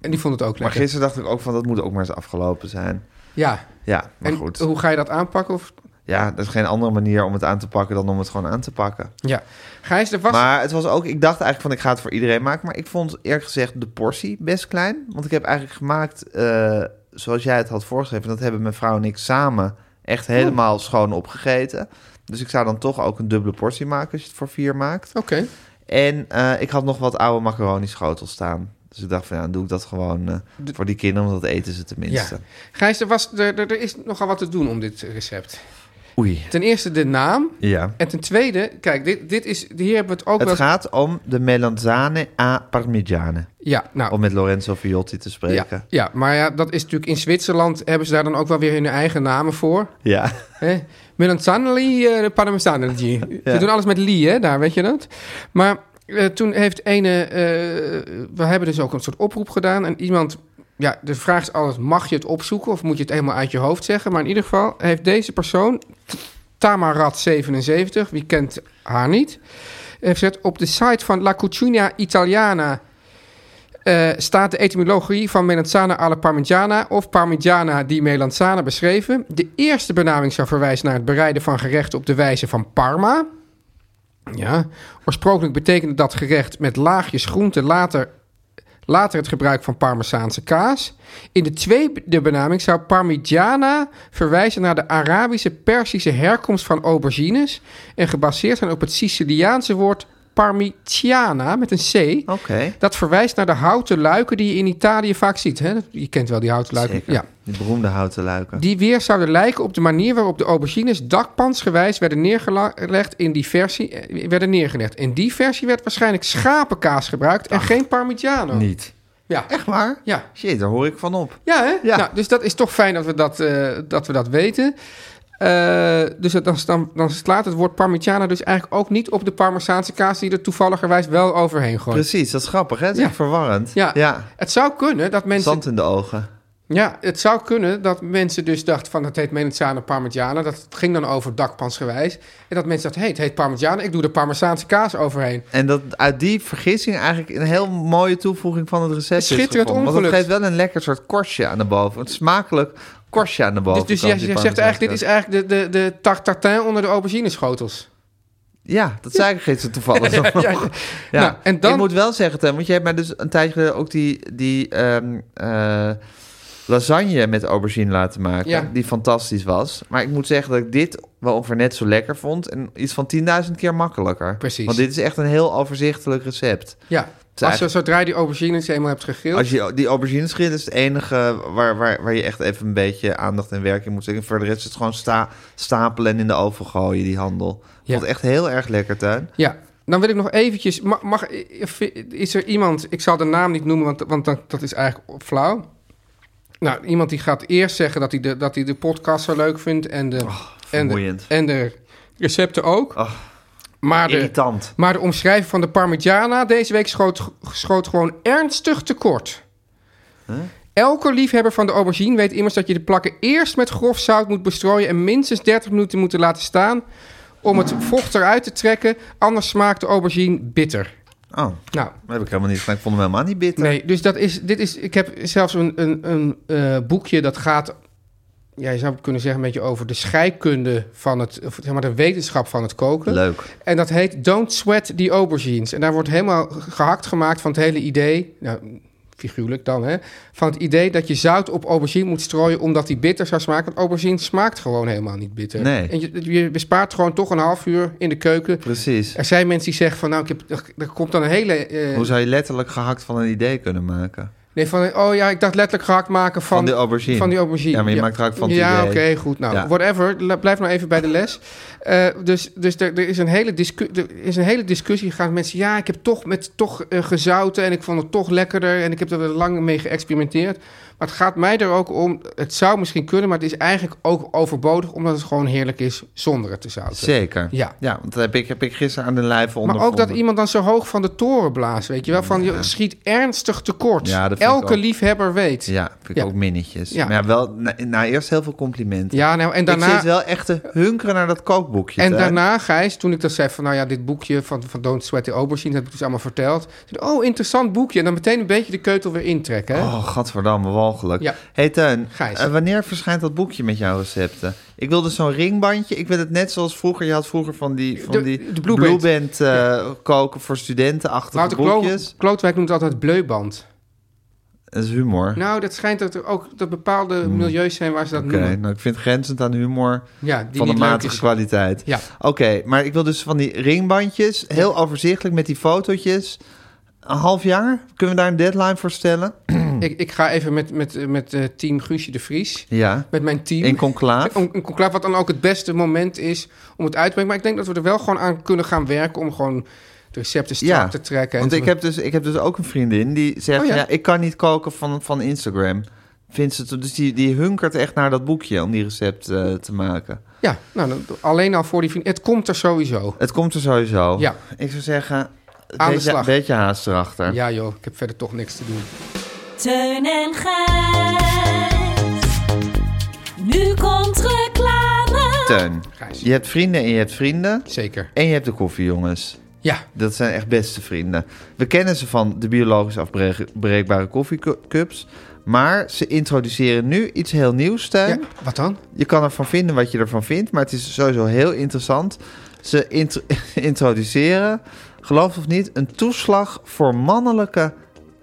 En die vond het ook
Maar
lekker.
gisteren dacht ik ook van, dat moet ook maar eens afgelopen zijn.
Ja.
Ja, maar
En
goed.
hoe ga je dat aanpakken? Of...
Ja, er is geen andere manier om het aan te pakken dan om het gewoon aan te pakken.
Ja. Gijs, er was...
Maar het was ook, ik dacht eigenlijk van ik ga het voor iedereen maken. Maar ik vond eerlijk gezegd de portie best klein. Want ik heb eigenlijk gemaakt eh, zoals jij het had voorgeschreven. Dat hebben mijn vrouw en ik samen echt helemaal schoon opgegeten. Dus ik zou dan toch ook een dubbele portie maken als je het voor vier maakt.
Oké.
En eh, ik had nog wat oude macaroni schotels staan. Dus ik dacht van ja, dan doe ik dat gewoon eh, voor die kinderen. Want dat eten ze
Ja.
tenminste.
Gijs, er, was, er, er er is nogal wat te doen om dit recept.
Oei.
Ten eerste de naam.
Ja.
En ten tweede, kijk, dit, dit is, hier hebben we het ook
Het
wel...
gaat om de melanzane a parmigiane.
Ja, nou,
Om met Lorenzo Viotti te spreken.
Ja, ja, maar ja, dat is natuurlijk in Zwitserland hebben ze daar dan ook wel weer hun eigen namen voor.
Ja.
hè? Melanzanelli, eh, Parmesanelli. Ze doen alles met li, hè, daar, weet je dat? Maar eh, toen heeft ene... eh, we hebben dus ook een soort oproep gedaan en iemand... Ja, de vraag is altijd, mag je het opzoeken of moet je het helemaal uit je hoofd zeggen? Maar in ieder geval heeft deze persoon, T- Tamarat77, wie kent haar niet... heeft gezet op de site van La Cucina Italiana... Eh, staat de etymologie van melanzana alla parmigiana of parmigiana di melanzana beschreven. De eerste benaming zou verwijzen naar het bereiden van gerechten op de wijze van Parma. Ja. Oorspronkelijk betekende dat gerecht met laagjes groente, later, later het gebruik van parmezaanse kaas. In de tweede benaming zou parmigiana verwijzen naar de Arabische Persische herkomst van aubergines en gebaseerd zijn op het Siciliaanse woord parmigiana met een C.
Oké.
Dat verwijst naar de houten luiken die je in Italië vaak ziet. Hè? Je kent wel die houten luiken.
Zeker.
Ja.
Die beroemde houten luiken.
Die weer zouden lijken op de manier waarop de aubergines dakpantsgewijs werden neergelegd in die versie. eh, Werden neergelegd. In die versie werd waarschijnlijk schapenkaas gebruikt en geen parmigiano.
Niet.
Ja.
Echt waar?
Ja.
Shit, daar hoor ik van op.
Ja, hè?
Ja.
Nou, dus dat is toch fijn dat we dat, eh, dat, we dat weten. Eh, dus dat- dan, dan, dan slaat het woord parmigiana dus eigenlijk ook niet op de parmezaanse kaas die er toevalligerwijs wel overheen gooit.
Precies, dat is grappig, hè? Dat is
Ja.
echt verwarrend.
Ja. Het zou kunnen dat mensen
Zand in de ogen.
Ja, het zou kunnen dat mensen dus dachten van het heet Melanzane Parmigiana. Dat ging dan over dakpansgewijs. En dat mensen dachten, hey, het heet Parmigiana. Ik doe de Parmezaanse kaas overheen.
En dat uit die vergissing eigenlijk een heel mooie toevoeging van het recept is
Schitterend
gevonden. Want het
ongeluk.
geeft wel een lekker soort korstje aan de boven. Een smakelijk korstje aan de boven.
Dus, dus jij, jij zegt eigenlijk, dit is eigenlijk de, de, de tart tartin onder de aubergineschotels.
Ja, dat zei ik gisteren toevallig. ja,
Nou, en dan-
Ik moet wel zeggen, Tim, want je hebt mij dus een tijdje geleden ook die, die ehm, eh, lasagne met aubergine laten maken.
Ja.
Die fantastisch was. Maar ik moet zeggen dat ik dit wel ongeveer net zo lekker vond. En iets van 10.000 keer makkelijker.
Precies.
Want dit is echt een heel overzichtelijk recept.
Ja, als je,
eigenlijk-
zodra je die aubergines eenmaal hebt gegrild.
Als je die aubergines grilt, is het enige waar, waar, waar je echt even een beetje aandacht en werk in moet zetten. Voor de rest is het gewoon sta, stapelen en in de oven gooien, die handel.
Ja.
Vond echt heel erg lekker, Tuin.
Ja, dan wil ik nog eventjes... Mag, mag, eh, is er iemand... Ik zal de naam niet noemen, want, want dat, dat is eigenlijk flauw. Nou, iemand die gaat eerst zeggen dat hij de, dat hij de podcast zo leuk vindt... en de, en de,
vermoeiend.
en de recepten ook. maar, de,
Irritant.
maar de omschrijving van de Parmigiana deze week schoot, schoot gewoon ernstig tekort. Elke liefhebber van de aubergine weet immers dat je de plakken eerst met grof zout moet bestrooien en minstens 30 minuten moeten laten staan om het vocht eruit te trekken. Anders smaakt de aubergine bitter.
Oh,
Nou,
dat heb ik helemaal niet gedaan. Ik vond hem helemaal niet bitter.
nee, dus dat is, dit is, ik heb zelfs een, een, een eh, boekje dat gaat, ja, je zou het kunnen zeggen, een beetje over de scheikunde van het, of zeg maar de wetenschap van het koken.
Leuk.
En dat heet Don't Sweat the Aubergines. En daar wordt helemaal gehakt gemaakt van het hele idee. Nou, figuurlijk dan, hè. Van het idee dat je zout op aubergine moet strooien... omdat die bitter zou smaken. Want aubergine smaakt gewoon helemaal niet bitter.
Nee.
En je, je bespaart gewoon toch een half uur in de keuken.
Precies.
Er zijn mensen die zeggen van... nou, ik heb, er, er komt dan een hele... eh,
Hoe zou je letterlijk gehakt van een idee kunnen maken?
Nee, van, oh ja, ik dacht letterlijk gehakt maken van,
Van die aubergine.
Van die aubergine.
Ja, maar je maakt gehakt van het
Ja,
idee.
oké, goed. Nou,
Ja.
whatever. La- Blijf nou even bij de les. Eh, dus dus er, er is een hele discu- er is een hele discussie gegaan. met Mensen, ja, ik heb toch met toch eh, gezouten en ik vond het toch lekkerder en ik heb er lang mee geëxperimenteerd. Maar het gaat mij er ook om. Het zou misschien kunnen, maar het is eigenlijk ook overbodig omdat het gewoon heerlijk is zonder het te zouten.
Zeker.
Ja.
ja, want dat heb ik, heb ik gisteren aan de lijve
Maar
ondervonden.
ook dat iemand dan zo hoog van de toren blaast, weet je wel? Van je schiet ernstig tekort.
Ja, dat vind ik
Elke
ook.
liefhebber weet.
Ja, vind ik
Ja.
ook minnetjes.
Ja.
Maar ja, wel, na, na eerst heel veel complimenten.
Ja, nou, en daarna...
Ik zit wel echt te hunkeren naar dat kookboekje.
En
Tuin.
daarna, Gijs, toen ik dat zei van... nou ja, dit boekje van, van Don't Sweat the Aubergine... dat heb ik dus allemaal verteld. Toen, oh, interessant boekje. En dan meteen een beetje de keutel weer intrekken. Hè?
Oh, gadverdamme, walgelijk.
Ja.
Hey Teun,
Gijs.
eh, wanneer verschijnt dat boekje met jouw recepten? Ik wilde zo'n ringbandje. Ik wil het net zoals vroeger. Je had vroeger van die, van
De-
die
de Blue Band.
Band, eh, koken voor studentenachtige
Wouter Nou, Klo-
boekjes.
Klootwijk noemt het altijd bleuband.
Dat is humor.
Nou, dat schijnt dat er ook dat bepaalde milieus zijn waar ze dat
Hmm. Oké,
noemen.
nou ik vind grenzend aan humor
Ja, die
van de
niet leuk
matige
is.
kwaliteit.
Ja.
Oké, maar ik wil dus van die ringbandjes, heel overzichtelijk met die fotootjes. Een half jaar? Kunnen we daar een deadline voor stellen?
Ik, ik ga even met, met, met eh, team Guusje de Vries.
Ja,
Met mijn team.
in conclaaf.
Een, een conclave, wat dan ook het beste moment is om het uit te brengen. Maar ik denk dat we er wel gewoon aan kunnen gaan werken om gewoon de recepten strak
Ja,
te trekken.
Want
En
ik
zo.
heb, dus, ik heb dus ook een vriendin die zegt...
Oh ja.
ja. ik kan niet koken van, van Instagram. Vindt ze, te- dus die, die hunkert echt naar dat boekje om die recept eh, te maken.
Ja, nou, dan- alleen al voor die vriend. Het komt er sowieso.
Het komt er sowieso.
Ja.
Ik zou zeggen,
Aan
een
de
beetje,
slag.
beetje haast erachter.
Ja joh, ik heb verder toch niks te doen.
Teun en Gijs. Nu komt reclame.
Teun,
Gijs.
je hebt vrienden en je hebt vrienden.
Zeker.
En je hebt de koffiejongens.
Ja,
Dat zijn echt beste vrienden. We kennen ze van de biologisch afbreekbare koffiecups. Maar ze introduceren nu iets heel nieuws,
ja.
Teun.
wat dan?
Je kan ervan vinden wat je ervan vindt, maar het is sowieso heel interessant. Ze int- introduceren, geloof of niet, een toeslag voor mannelijke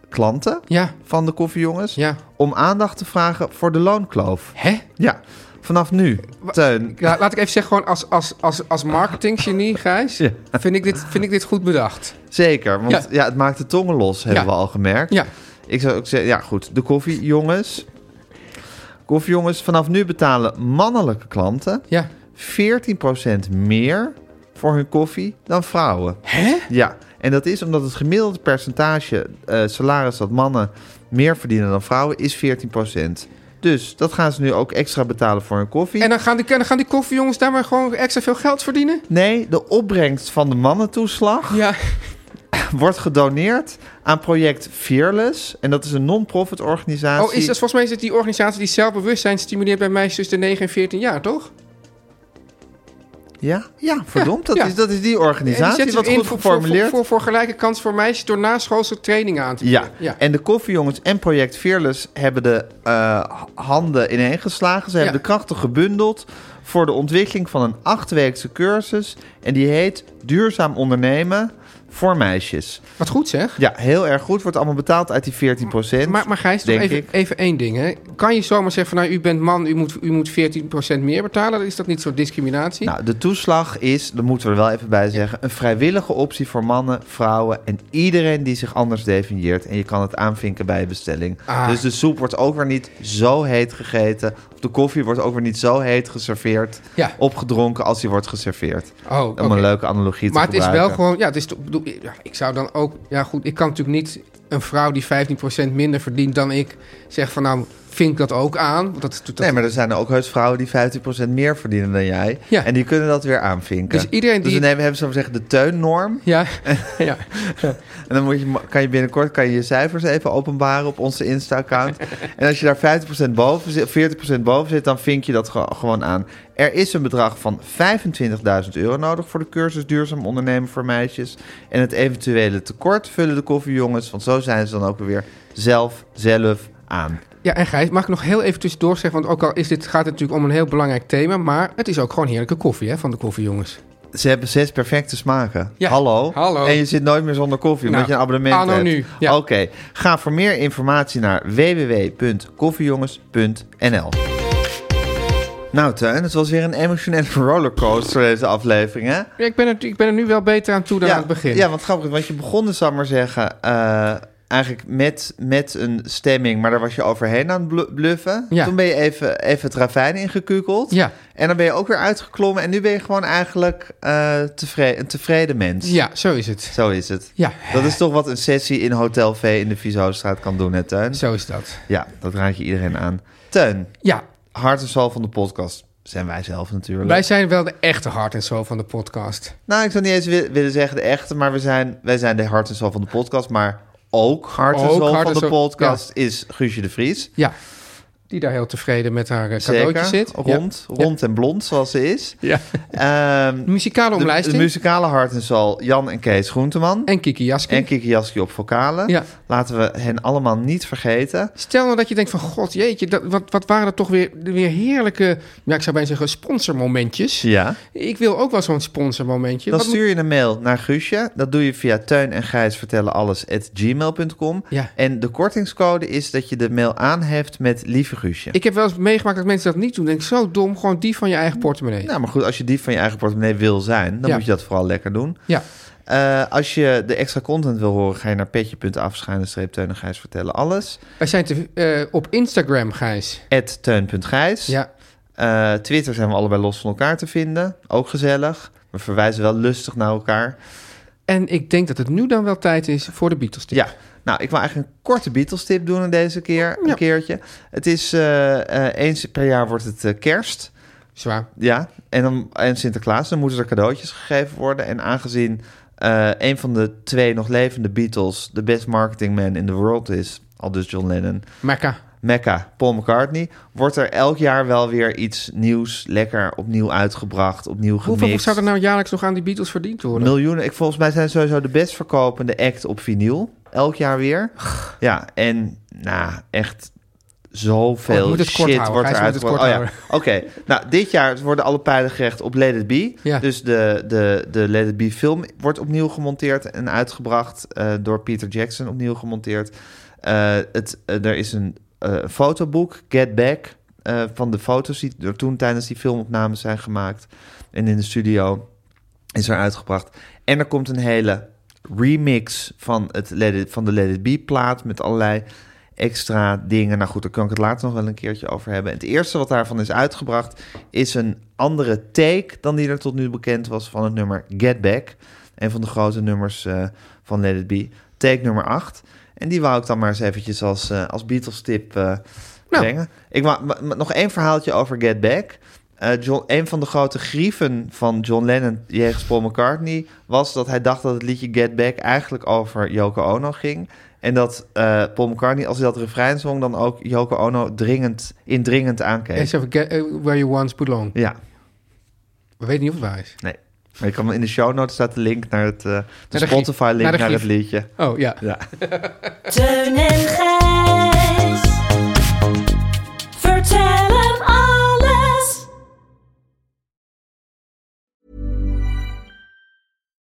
klanten
Ja,
van de koffiejongens.
ja.
Om aandacht te vragen voor de loonkloof.
Hè?
Ja, vanaf nu, Teun.
Ja, laat ik even zeggen, gewoon als, als, als, als marketinggenie, Gijs,
Ja.
vind, ik dit, vind ik dit goed bedacht.
Zeker, want
Ja.
ja. het maakt de tongen los, hebben
Ja.
we al gemerkt.
Ja,
Ik zou ook zeggen, ja goed, de koffiejongens. Koffiejongens, vanaf nu betalen mannelijke klanten
ja.
14% meer voor hun koffie dan vrouwen.
Hè?
Ja, en dat is omdat het gemiddelde percentage eh, salaris dat mannen meer verdienen dan vrouwen is 14%. Dus dat gaan ze nu ook extra betalen voor hun koffie.
En dan gaan die, en dan gaan die koffiejongens daar maar gewoon extra veel geld verdienen?
Nee, de opbrengst van de mannentoeslag
Ja.
wordt gedoneerd aan project Fearless. En dat is een non-profit organisatie.
Oh, is dat, volgens mij is het die organisatie die zelfbewustzijn stimuleert bij meisjes tussen de 9 en 14 jaar, toch?
Ja, ja verdomd. Dat,
ja.
Is, dat is die
En die
organisatie,
zetten
wat
in
goed
voor, voor,
geformuleerd.
voor, voor, voor gelijke kans voor meisjes door naschoolse training aan te
Ja.
Ja.
en de koffiejongens en Project Fearless hebben de eh, handen ineengeslagen. Ze hebben
Ja.
de krachten gebundeld voor de ontwikkeling van een achtweekse cursus. En die heet Duurzaam Ondernemen voor Meisjes.
Wat goed zeg.
Ja, heel erg goed. Wordt allemaal betaald uit die 14 procent.
Maar, maar Gijs, toch
denk
even,
ik.
even één ding. Hè? Kan je zomaar zeggen van nou, u bent man, u moet, u moet 14% meer betalen? Is dat niet zo'n discriminatie?
Nou, de toeslag is, dat moeten we er wel even bij zeggen, een vrijwillige optie voor mannen, vrouwen en iedereen die zich anders definieert. En je kan het aanvinken bij je bestelling.
Ah.
Dus de soep wordt ook weer niet zo heet gegeten. Of de koffie wordt ook weer niet zo heet geserveerd,
Ja.
opgedronken als die wordt geserveerd.
oh,
Om
oké.
een leuke analogie te
Maar het is wel
gebruiken.
gewoon, ja, het is, toch- bedoel, ja, ik zou dan ook, ja goed, ik kan natuurlijk niet een vrouw die 15% minder verdient dan ik, zeggen van nou, vink dat ook aan. Want dat, is natuurlijk- dat,
Nee, maar er zijn ook heus vrouwen die 15% meer verdienen dan jij.
Ja.
En die kunnen dat weer aanvinken.
Dus iedereen
Dus
die-
we nemen, hebben zo gezegd de teunnorm.
Ja, ja.
En dan moet je, kan je binnenkort kan je, je cijfers even openbaren op onze Insta-account. en als je daar 50% boven zit, 40% boven zit, dan vink je dat ge- gewoon aan. Er is een bedrag van 25.000 euro nodig voor de cursus Duurzaam Ondernemen voor Meisjes. En het eventuele tekort vullen de koffiejongens, want zo zijn ze dan ook weer zelf, zelf aan.
ja, en Gijs, mag ik nog heel even tussendoor zeggen, want ook al is dit, gaat het natuurlijk om een heel belangrijk thema, maar het is ook gewoon heerlijke koffie hè, van de koffiejongens.
Ze hebben zes perfecte smaken.
Ja.
Hallo.
Hallo.
En je zit nooit meer zonder koffie, omdat
Nou,
je een abonnement
anno
hebt.
nu, ja.
Oké. Ga voor meer informatie naar www.koffiejongens.nl Nou Teun, het was weer een emotionele rollercoaster deze aflevering, hè?
Ja, ik, ben er, ik ben er nu wel beter aan toe dan aan het begin.
ja, want grappig, want je begon dus, zal ik maar zeggen... eh, eigenlijk met, met een stemming, maar daar was je overheen aan het blu- bluffen.
Ja.
Toen ben je even, even het ravijn ingekukeld.
Ja.
En dan ben je ook weer uitgeklommen. En nu ben je gewoon eigenlijk eh, tevreden, een tevreden mens.
Ja, zo is het.
Zo is het.
Ja.
Dat is toch wat een sessie in Hotel V in de Vieshoofdstraat kan doen, hè, Teun?
Zo is dat.
Ja, dat raad je iedereen aan. Teun,
Ja,
hart en zal van de podcast zijn wij zelf natuurlijk.
wij zijn wel de echte hart en zo van de podcast.
Nou, ik zou niet eens wi- willen zeggen de echte, maar we zijn, wij zijn de hart en zal van de podcast. Maar ook hart en
Ook
zal
hart
van
en
de
ziel,
podcast is Guusje de Vries.
Ja, die daar heel tevreden met haar eh, cadeautje
Zeker,
zit.
rond, rond en blond zoals ze is.
Ja.
Ehm,
De muzikale
de, de
omlijsting
muzikale hart en zal Jan en Kees Groenteman.
en Kiki Jaski.
En Kiki Jaski op vocalen.
Ja.
Laten we hen allemaal niet vergeten.
Stel nou dat je denkt van, god jeetje, dat, wat, wat waren dat toch weer, weer heerlijke, ja, ik zou bijna zeggen, sponsormomentjes.
Ja.
Ik wil ook wel zo'n sponsormomentje.
Dan
Wat
stuur je een mail naar Guusje. Dat doe je via teun en gijs vertellen alles gmail.com.
Ja.
En de kortingscode is dat je de mail aanheft met lieve Guusje.
moet- Ik heb wel eens meegemaakt dat mensen dat niet doen. Denk ik, zo dom, gewoon die van je eigen portemonnee.
Nou, maar goed, als je dief van je eigen portemonnee wil zijn, dan
Ja.
moet je dat vooral lekker doen.
Ja,
Eh, als je de extra content wil horen, ga je naar petje.af streep teun en gijs vertellen alles.
wij zijn te, eh, op Instagram, Gijs.
At teun.gijs.
Ja,
Eh, Twitter zijn we allebei los van elkaar te vinden. Ook gezellig. We verwijzen wel lustig naar elkaar.
en ik denk dat het nu dan wel tijd is voor de Beatles tip.
Ja. Nou, ik wil eigenlijk een korte Beatles-tip doen in deze keer. Een keertje. Het is eh, eh, eens per jaar wordt het eh, kerst.
Zwaar.
Ja. En, dan, en Sinterklaas. Dan moeten er cadeautjes gegeven worden. En aangezien eh, een van de twee nog levende Beatles de best marketingman in the world is, al dus John Lennon,
Mekka.
Mecca, Paul McCartney, wordt er elk jaar wel weer iets nieuws lekker opnieuw uitgebracht, opnieuw gemixt.
Hoeveel zou er nou jaarlijks nog aan die Beatles verdiend worden?
Miljoenen. Ik, volgens mij zijn ze sowieso de best verkopende act op vinyl. Elk jaar weer. Ja, en nou, echt
Oh, ik
zoveel
moet het kort
shit
houden.
wordt
Gijs,
er
je moet het
uitgebracht.
kort
Oh ja,
houden.
oké. Nou, dit jaar worden alle pijlen gerecht op Let It Be.
Ja.
Dus de, de, de Let It Be film wordt opnieuw gemonteerd en uitgebracht eh, door Peter Jackson opnieuw gemonteerd. Eh, het, eh, er is een eh, fotoboek, Get Back, eh, van de foto's die er toen tijdens die filmopnames zijn gemaakt. En in de studio is er uitgebracht. En er komt een hele remix van, het Let It- van de Let It Be plaat met allerlei extra dingen. Nou goed, daar kan ik het later nog wel een keertje over hebben. En het eerste wat daarvan is uitgebracht is een andere take dan die er tot nu bekend was van het nummer Get Back. Een van de grote nummers eh, van Let It Be. Take nummer 8. En die wou ik dan maar eens eventjes als, eh, als Beatles tip eh,
Nou.
brengen. Ik wou, m- m- nog één verhaaltje over Get Back. Eh, John, een van de grote grieven van John Lennon jegens Paul McCartney was dat hij dacht dat het liedje Get Back eigenlijk over Yoko Ono ging. En dat eh, Paul McCartney, als hij dat refrein zong, dan ook Yoko Ono dringend, indringend
En
aankeek.
zo van, get, eh, where you once belong.
Ja,
We weten niet of het waar is.
nee. Maar ik kan, in de show notes staat de link naar het eh, de
Naar de grief.
Spotify-link
Naar
naar,
de
het
grief.
liedje.
Oh, ja.
Ja.
Teun en Gijs. Vertel hem alles.